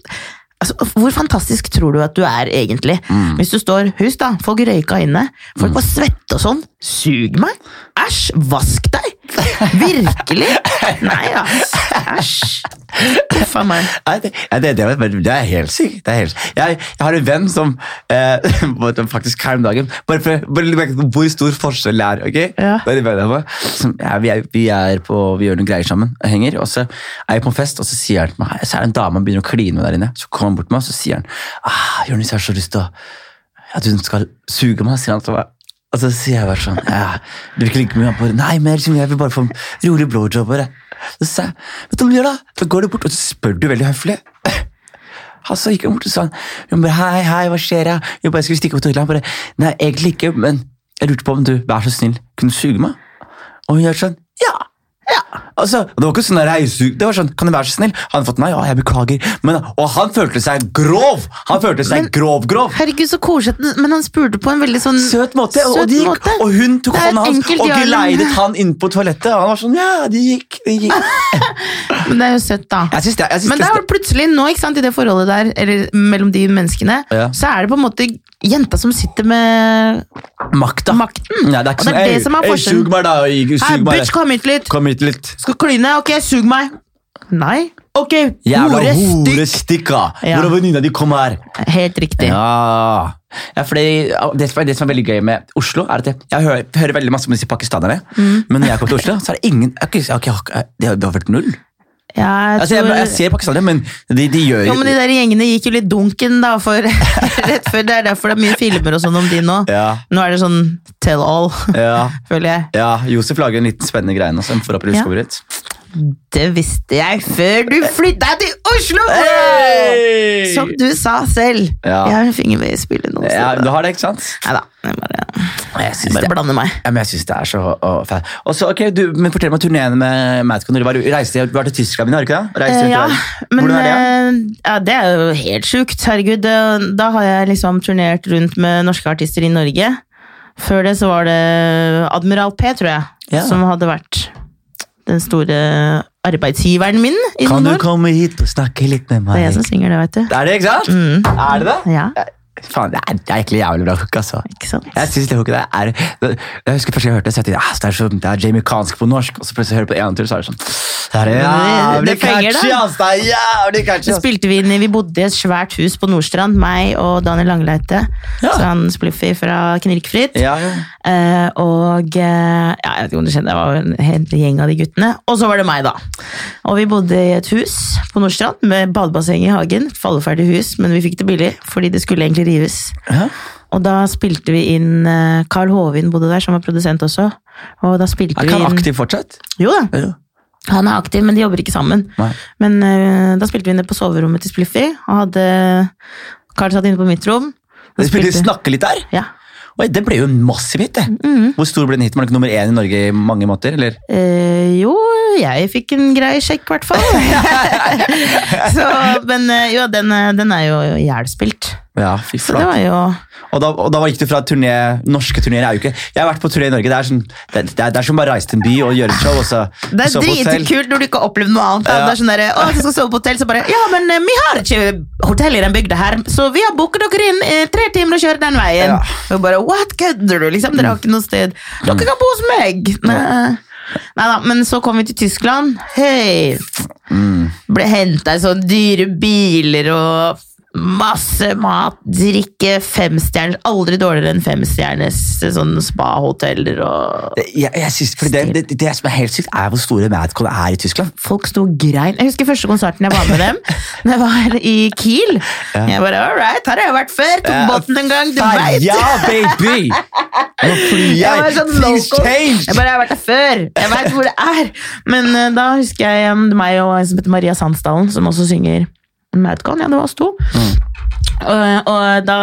S2: Altså, hvor fantastisk tror du at du er egentlig?
S1: Mm.
S2: Hvis du står Husk, da, folk røyka inne. Folk var svette og sånn. Sug meg! Æsj! Vask deg!
S1: (laughs)
S2: Virkelig! Nei, ass. Æsj. Huff a meg.
S1: Nei, det, nei, det, det, var- det er helt sykt. Det er helt, sykt. jeg, jeg har en venn som eh, (laughs) vet du, faktisk her om dagen Bare for bare legg merke til hvor stor forskjell det er. ok?
S2: Ja.
S1: Det er en venn av meg som, ja, vi, er, vi er på, vi gjør noen greier sammen, og henger, og så er jeg på en fest, og så sier han til meg, så er det en dame han begynner å kline med der inne. Så kommer han bort til meg, og så sier han ah, Jonis, jeg har så lyst til å at hun skal suge meg, sier han til meg. Og så sier jeg bare sånn ja, Du vil ikke ligge med meg? Han Bare, Nei, men jeg vil bare få en rolig blowjob. Bare. Så sa jeg, vet du hva du gjør da? Så går du bort, og så spør du veldig høflig. (clears throat) Og så gikk hun bort og sa han, hun bare, hei, hei, hva skjer? Jeg, jeg bare skulle stikke på toalettet. Han bare, nei, egentlig ikke, men jeg lurte på om du, vær så snill, kunne suge meg? Og hun gjør sånn, ja, ja. Altså, det var ikke sånn der, hei, sug. Det var sånn, kan du være så snill? Han hadde fått nei, ja, jeg beklager. Men, og han følte seg grov. Han følte seg
S2: Men-
S1: grov, grov
S2: Herregud, så koselig. at- Men han spurte på en veldig sånn
S1: søt måte. og- og, de gikk,
S2: måte.
S1: og hun tok
S2: Det er et
S1: hånda hans
S2: enkelt
S1: og
S2: ja eller nei.
S1: geleidet han inn på toalettet. Og han var sånn, ja, de gikk, de gikk.
S2: Men det er jo søtt, da.
S1: Jeg synes det, jeg synes
S2: Men der var
S1: det,
S2: det plutselig nå, ikke sant, i det forholdet der, eller mellom de menneskene,
S1: Ja.
S2: så er det på en måte jenta som sitter med
S1: makta.
S2: makten.
S1: Nei, det er ikke
S2: Og det
S1: sånn,
S2: er
S1: «Ei,
S2: det som er
S1: ei,
S2: forskjellen.
S1: Sug meg, da. i-
S2: Hei,
S1: Sug meg.
S2: bitch, kom hit litt!
S1: Kom hit litt.
S2: Skal kline? Ok, sug meg! Nei. Ok,
S1: Jævla
S2: hore, stygg!
S1: horestikka!
S2: Ja.
S1: Hvor er venninna di? Kom her!
S2: Helt riktig.
S1: Ja. ja fordi, ah, det, som er, det som er veldig gøy med Oslo, er at jeg, jeg hører, hører
S2: Mm.
S1: veldig masse om disse pakistanerne. Men når jeg kom til Oslo, så er det ingen jeg, har ikke- jeg, har ikke- jeg, har ikke- det, har- det har vært null.
S2: Ja, jeg
S1: Altså, jeg,
S2: tror-
S1: jeg ser pakistanere, men de, de gjør
S2: Jo, men De der gjengene gikk jo litt dunken
S1: (laughs)
S2: da, for rett før. Det er derfor det er mye filmer og sånn om de nå.
S1: ja,
S2: Nå er det sånn tell all,
S1: ja,
S2: (laughs) føler jeg.
S1: ja, Josef lager en liten spennende greie nå, som forhåpentligvis
S2: Ja.
S1: kommer ut.
S2: Det visste jeg før du flytta til Oslo! Som du sa selv.
S1: Ja.
S2: Jeg har en finger med i spillet nå.
S1: Ja,
S2: Ja,
S1: du har det, ikke sant?
S2: Nei da, jeg bare,
S1: Jeg
S2: jeg
S1: synes
S2: bare
S1: det.
S2: blander meg.
S1: Ja, men jeg synes det er så å, fælt. Og så, ok, du, men Fortell meg om turneene med Madcon. Du var, reiste, du var til Tyskland, men har du ikke det? Reiste rundt
S2: Eh,
S1: i
S2: ja,
S1: verden.
S2: men
S1: Hvordan er det?
S2: eh, ja, det er jo helt sjukt. Herregud, det- da har jeg liksom turnert rundt med norske artister i Norge. Før det så var det Admiral P, tror jeg,
S1: Ja.
S2: som hadde vært den store arbeidsgiveren min. i
S1: Kan
S2: noen
S1: du
S2: år.
S1: komme hit og snakke litt med
S2: Det er
S1: meg?
S2: jeg som Mm. synger det, vet du.
S1: Det er det, ikke sant? Er det det?
S2: Ja,
S1: Faen, det er, det er egentlig jævlig bra hook, altså.
S2: ikke sant?
S1: Jeg synes det hooket der er Jeg husker første gang jeg hørte det, så jeg tenkte ah, det, er så, det er jamaicansk på norsk, og så plutselig hører jeg på en tur, så er det sånn Det er
S2: det
S1: jævlig
S2: fenger
S1: catchy,
S2: deg.
S1: ass! Det er jævlig catchy,
S2: Så
S1: ass!
S2: spilte vi inn i Vi bodde i et svært hus på Nordstrand, meg og Daniel Langeleite.
S1: Ja.
S2: Så han spliffy fra Knirkfritt.
S1: Ja, ja.
S2: Eh, og eh, ja, jeg vet ikke om du kjenner, det var jo en hel gjeng av de guttene. Og så var det meg, da. Og vi bodde i et hus på Nordstrand med badebasseng i hagen. Falleferdig hus, men vi fikk det billig fordi det skulle egentlig rives.
S1: Ja.
S2: Og da spilte vi inn eh, Carl Hovin bodde der, som var produsent også. Og da spilte
S1: Er
S2: vi
S1: ikke han
S2: inn
S1: aktiv fortsatt?
S2: Jo da,
S1: Ja.
S2: han er aktiv, men de jobber ikke sammen.
S1: Nei.
S2: Men eh, da spilte vi inn det på soverommet til Spliffy, og hadde Carl satt inne på mitt rom.
S1: De spilte Snakke litt der?
S2: Ja.
S1: Oi, det ble jo en massiv hit, det. Hvor stor ble den hiten? Var den ikke nummer én i Norge i mange måter? Eller?
S2: Eh, jo, jeg fikk en grei sjekk, i hvert fall. (laughs) så, men eh, jo, den, eh, den er jo ihjelspilt.
S1: Ja, fy
S2: Så det
S1: flate.
S2: var jo
S1: Og, da, og da gikk du fra turné Norske turneer er jo ikke Jeg har vært på turné i Norge. Det er, sånn, det, det er, det er som å bare reise til en by og gjøre et show, og så
S2: Det er
S1: så på hotell.
S2: dritkult når du ikke har opplevd noe annet. da.
S1: Ja.
S2: Det er sånn der, å, du skal sove på hotell, så bare Ja, men eh, vi har ikke hotell i den bygda her, så vi har booket dere inn eh, tre timer og kjører den veien.
S1: Ja.
S2: Og bare What kødder du? Liksom, dere har ikke noe sted. Dere kan bo hos meg! Nei. Neida, men så kom vi til Tyskland. Hei!
S1: Mm.
S2: Ble henta i sånne dyre biler og masse mat, drikke, femstjerners Aldri dårligere enn femstjerners sånn spahoteller og
S1: Det- Jeg, jeg synes, fordi det, det, det som er helt sykt, er hvor store Madcon er i Tyskland.
S2: folk sto og grein. Jeg husker første konserten jeg var med dem. Det var i Kiel. Jeg bare, all right, her har jeg vært før. Tok
S1: Ja,
S2: båten en gang, du
S1: Ferja,
S2: veit.
S1: baby! Nå flyr
S2: Jeg var
S1: jeg!
S2: sånn
S1: Things
S2: local.
S1: changed!
S2: Jeg bare, jeg har vært der før. Jeg veit hvor det er. Men eh, da husker jeg um, meg og en som heter Maria Sandsdalen, som også synger Madcon. Ja, det var oss to. Og, og da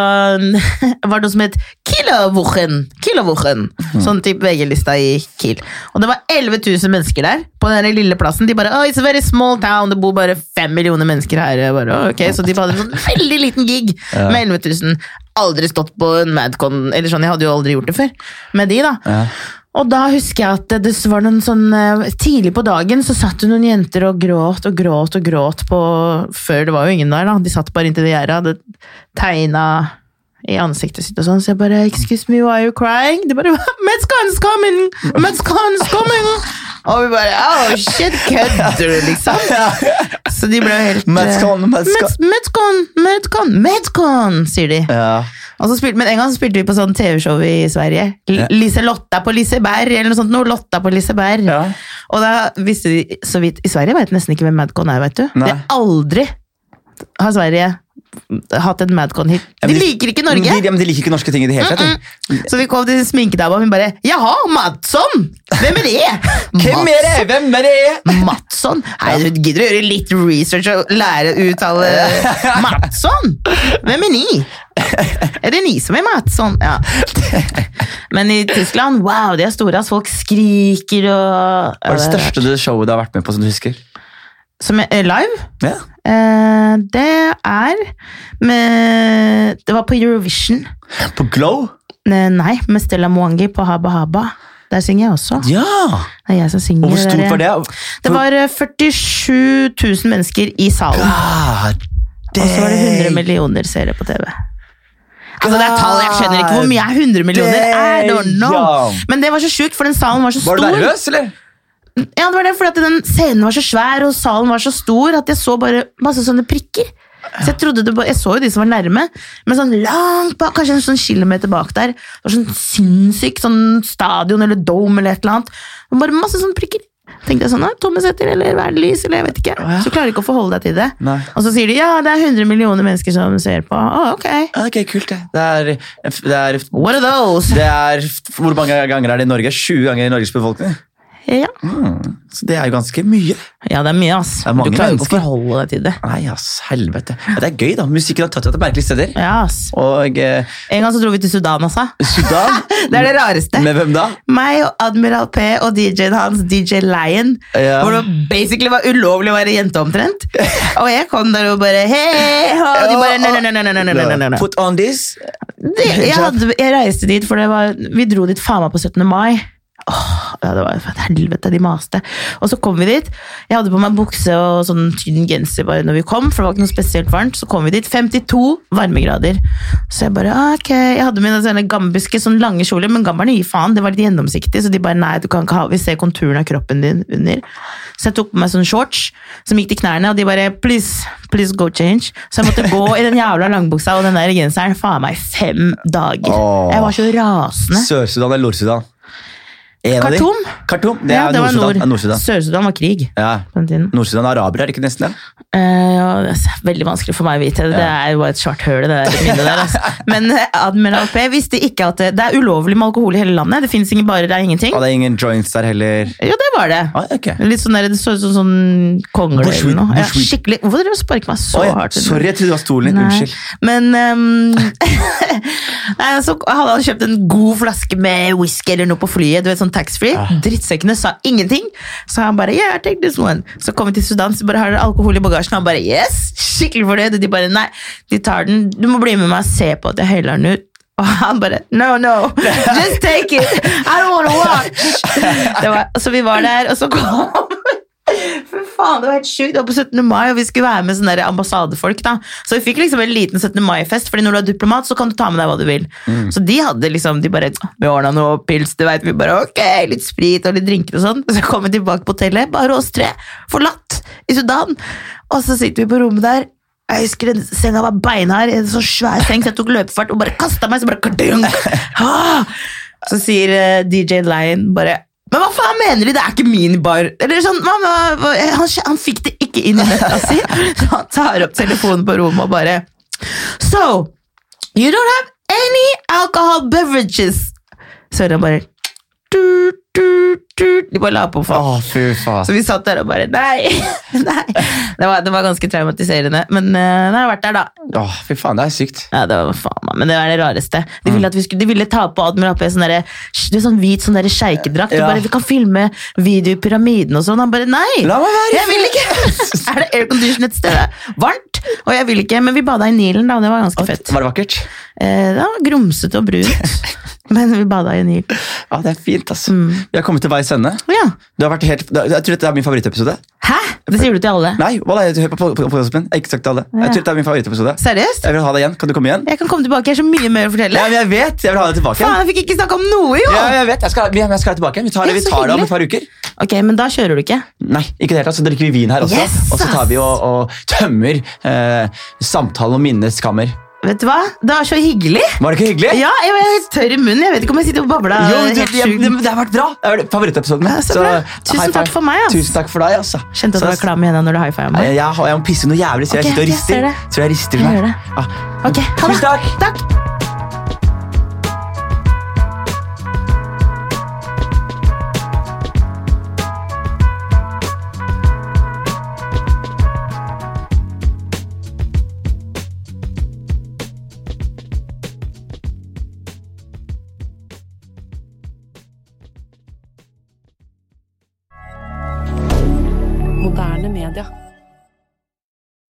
S2: (laughs) var det noe som het Killerwochen. Killerwochen. Sånn type VG-lista i Kiel. Og det var 11 000 mennesker der, på den der lille plassen. De bare oh, It's a very small town, det bor bare 5 millioner mennesker her. Jeg Bare, «Å, ok, Så de hadde en sånn veldig liten gig med 11 000. Aldri stått på en Madcon, eller sånn, jeg hadde jo aldri gjort det før. Med de, da.
S1: Ja.
S2: Og da husker jeg at det var noen sånn eh, Tidlig på dagen så satt det noen jenter og gråt og gråt og gråt på Før det var jo ingen der, da. De satt bare inntil det gjerdet, hadde tegna i ansiktet sitt og sånn. Så jeg bare 'Excuse me, why are you crying?' De bare (laughs) 'Metzcons coming! Metzcons coming!' Og vi bare 'Oh shit, kødder du', liksom. Så de ble jo helt eh,
S1: Madcon, Madcon.
S2: Meds- Medcon, Medcon, Medcon, sier de.
S1: Ja.
S2: Og så spilte, men en gang så spilte vi på sånn TV-show i Sverige. L
S1: Ja.
S2: Lise Lotta på Liseberg, eller noe sånt. Noe Lotta på Liseberg.
S1: Ja.
S2: Og da visste de så vidt I Sverige vet nesten ikke hvem Madcon er, vet du.
S1: Nei.
S2: Det er aldri har Sverige hatt en Madcon-hit.
S1: Ja,
S2: De
S1: men de-
S2: liker ikke Norge!
S1: De, ja, men de liker ikke norske ting i det hele tatt. de.
S2: Så vi kom til sminkedama, og hun bare 'Jaha, Madsson! Hvem er det?'
S1: Hvem er det? Hvem er det?
S2: Madsson? Nei, du gidder å gjøre litt research og lære å uttale
S1: (laughs)
S2: Madsson? Hvem er ni? Er det ni som er Madsson? Ja. Men i Tyskland, wow, de er store. ass. Folk skriker og eh,
S1: Hva er det største showet du har vært med på som du husker?
S2: Som er er live?
S1: Ja.
S2: Eh, det er med Det var på Eurovision.
S1: På Glow?
S2: Ne- Nei, med Stella Mwangi på Haba Haba. Der synger jeg også.
S1: Ja!
S2: Det er jeg som synger.
S1: Og hvor
S2: det
S1: stort
S2: der.
S1: var det?
S2: Det var eh, 47 000 mennesker i salen.
S1: God
S2: Og så var det 100
S1: dang.
S2: millioner seere på TV. Altså det er tall, Jeg skjønner ikke hvor mye er 100 millioner I don't know.
S1: Damn.
S2: Men det var så sjukt, for den salen var så
S1: Var
S2: stor.
S1: du nervøs, eller?
S2: Ja, det var det, fordi at den scenen var så svær, og salen var så stor, at jeg så bare masse sånne prikker. Så Jeg trodde det bare, jeg så jo de som var nærme, men sånn langt bak, kanskje en sånn kilometer bak der. Det var sånn sinnssykt sånn stadion eller dome eller et eller annet. Det var bare masse sånne prikker. tenkte jeg sånn, «Nei, Tommesetter eller Hva er det lys, eller jeg vet ikke.
S1: ja.
S2: Så klarer du ikke å forholde deg til det.
S1: Nei.
S2: Og så sier de ja, det er 100 millioner mennesker som ser på. Å, ok.
S1: Ja, ok, kult det. Det er, det er,
S2: What are those?
S1: det er Hvor mange ganger er det i Norge? 20 ganger i Norges befolkning.
S2: Ja,
S1: Mm. Så det er jo ganske mye.
S2: ja det er mye, ass.
S1: er mange
S2: du klarer
S1: mennesker.
S2: ikke å forholde deg til det.
S1: Nei, ass, helvete. Ja, det er gøy, da. Musikken har tatt deg til merkelige steder.
S2: Ja, ass.
S1: Og eh,
S2: En gang så dro vi til Sudan altså. også.
S1: Sudan
S2: (laughs) Det er det rareste.
S1: Med hvem da?
S2: meg og Admiral P og DJ-en hans, DJ Lion,
S1: Ja.
S2: hvor det basically var ulovlig å være jente omtrent. Og jeg kom der og bare hei, hå», og de bare nei, nei, nei, nei, nei, nei, nei, nei, nei.
S1: Put on this.
S2: Det, jeg, hadde, jeg reiste dit, for det var, vi dro dit faen meg på 17. mai. Åh, ja, det var jo for et helvete, de maste. Og så kom vi dit. Jeg hadde på meg bukse og sånn tynn genser bare når vi kom, for det var ikke noe spesielt varmt. Så kom vi dit. 52 varmegrader. Så jeg bare, ah, ok. Jeg hadde mine sånne gambiske, sånn lange kjoler, men gamberne gir faen. Det var litt gjennomsiktig, så de bare, nei, du kan ikke ha, vi ser konturen av kroppen din under. Så jeg tok på meg sånn shorts, som gikk til knærne, og de bare, please, please go change. Så jeg måtte gå i den jævla langbuksa og den der genseren, faen meg, fem dager.
S1: Åh.
S2: Jeg var så rasende.
S1: Sør-Sudan eller Nord-Sudan? En av de.
S2: Khartoum?
S1: Khartoum, Det
S2: Ja,
S1: er
S2: det var
S1: Nord-Sudan.
S2: Nord-
S1: Ja, Nord-Sudan.
S2: Sør-Sudan var krig
S1: Ja.
S2: på den tiden.
S1: Nord-Sudan er arabere, er det ikke nesten det?
S2: Eh, ja, det er veldig vanskelig for meg å vite. Det er jo bare et svart høl. Det der, minnet der, altså.
S1: (laughs)
S2: Men eh, Admiral P visste ikke at det, det er ulovlig med alkohol i hele landet. Det finnes ingen barer, det er ingenting.
S1: Og det er ingen joints der heller.
S2: Jo, det var det.
S1: Ah, ok.
S2: Litt sånn der, Det så ut som sånn kongle
S1: Bushwick,
S2: eller noe. Ja,
S1: Bushwick.
S2: skikkelig. Hvorfor dere sparker meg så
S1: Å, ja.
S2: hardt?
S1: Sorry, jeg trodde det var stolen din.
S2: Nei.
S1: Unnskyld.
S2: Men ehm, (laughs) nei, så hadde han kjøpt en god flaske med whisky eller noe på flyet. Du vet, sånn taxfree. Drittsekkene sa ingenting. Så han bare yeah, take this one. Så kom vi til Sudan, så bare har dere alkohol i bagasjen. Han bare yes, skikkelig fornøyd. Og de bare nei, de tar den. Du må bli med meg og se på at jeg høyler den ut. Og han bare No, no,
S1: (laughs)
S2: just take it! I don't wanna watch! Det var, så vi var der, og så kom Fy faen, det var helt sjukt. Det var på 17. mai, og vi skulle være med sånne der ambassadefolk. da. Så vi fikk liksom en liten 17. mai-fest, fordi når du er diplomat, så kan du ta med deg hva du vil. Så de hadde liksom, de bare Vi ordna noe pils, du vet, Vi bare ok, litt sprit og litt drinker og sånn. Så kom vi tilbake på hotellet, bare oss tre, forlatt i Sudan. Og så sitter vi på rommet der. Jeg husker den senga var beinhard, en sånn svær seng, så jeg tok løpefart og bare kasta meg, så bare kardung. Ah! Så sier eh, DJ Lion bare men hva faen mener de? Det er ikke min bar. Eller sånn, hva- hva- hva- han, han fikk det ikke inn i nøtta si. Så (laughs) han tar opp telefonen på rommet og bare So, you don't have any alcohol beverages. Så hører han bare du, du, du. De bare la på for
S1: Å, fy faen.
S2: så vi satt der og bare Nei! (laughs) nei. Det, var, det var ganske traumatiserende. Men eh, nei, jeg har vært der,
S1: Å,
S2: da.
S1: fy faen, det er sykt.
S2: Ja, det var faen meg, Men det var det rareste. De
S1: Mm.
S2: ville, at vi skulle, de ville ta på Admiral P sånn derre- det er sånn hvit sånn derre sjeikedrakt.
S1: Ja.
S2: Og bare 'Vi kan filme video i pyramiden' og sånn. Han bare 'Nei!'
S1: La meg være!
S2: Jeg vil ikke!
S1: (laughs)
S2: (laughs) er det aircondition et sted? Varmt! Og jeg vil ikke, men vi bada i Nilen, da. og Det var ganske fett.
S1: Var det vakkert?
S2: Eh, det var grumsete og brunt,
S1: (laughs)
S2: men vi bada i Nilen.
S1: Ja, det er fint, altså.
S2: Mm.
S1: Vi har kommet til veis ende.
S2: Ja.
S1: Du har vært helt, jeg tror dette er min favorittepisode.
S2: Hæ? Det sier du til alle?
S1: Nei, voilà, jeg, hør på pod- podcasten min. Jeg har ikke sagt det til alle. Jeg tror dette er min favorittepisode.
S2: Seriøst?
S1: Jeg vil ha deg igjen. Kan du komme igjen?
S2: Jeg kan komme tilbake, jeg har så mye mer å fortelle.
S1: Ja, men jeg vet! Jeg vil ha deg tilbake
S2: Faen,
S1: igjen.
S2: jeg fikk ikke snakke om noe, jo!
S1: Ja, jeg vet. Jeg skal, men jeg skal tilbake igjen. Vi tar det,
S2: Det er
S1: vi
S2: så
S1: tar det om et par uker.
S2: Ok, men da kjører du ikke.
S1: Nei, ikke det hele tatt. Så drikker vi vin her også.
S2: Yes,
S1: og så tar vi og, og tømmer eh, samtalen om minneskammer.
S2: Vet du hva? Det er så hyggelig!
S1: Var det ikke hyggelig?
S2: Ja, jeg er helt tørr i munnen. Jeg vet ikke om jeg sitter og babler.
S1: Jo,
S2: helt
S1: det, det,
S2: sjukt.
S1: det, det har vært bra! Det er favorittepisoden min.
S2: Ja, så
S1: Så,
S2: bra. Tusen
S1: high
S2: takk
S1: five.
S2: for meg, ass.
S1: Tusen takk for deg, altså.
S2: Kjente at
S1: Så-
S2: du var klam i hendene når du high fiva
S1: Nei,
S2: meg.
S1: Jeg, jeg, jeg må pisse noe jævlig, så jeg
S2: Ok,
S1: sitter og
S2: jeg ser
S1: rister.
S2: det.
S1: Så jeg rister
S2: Jeg
S1: den
S2: gjør
S1: her.
S2: det.
S1: Ah.
S2: Ok, ha det.
S1: Tusen takk.
S2: Takk.
S3: Moderne media.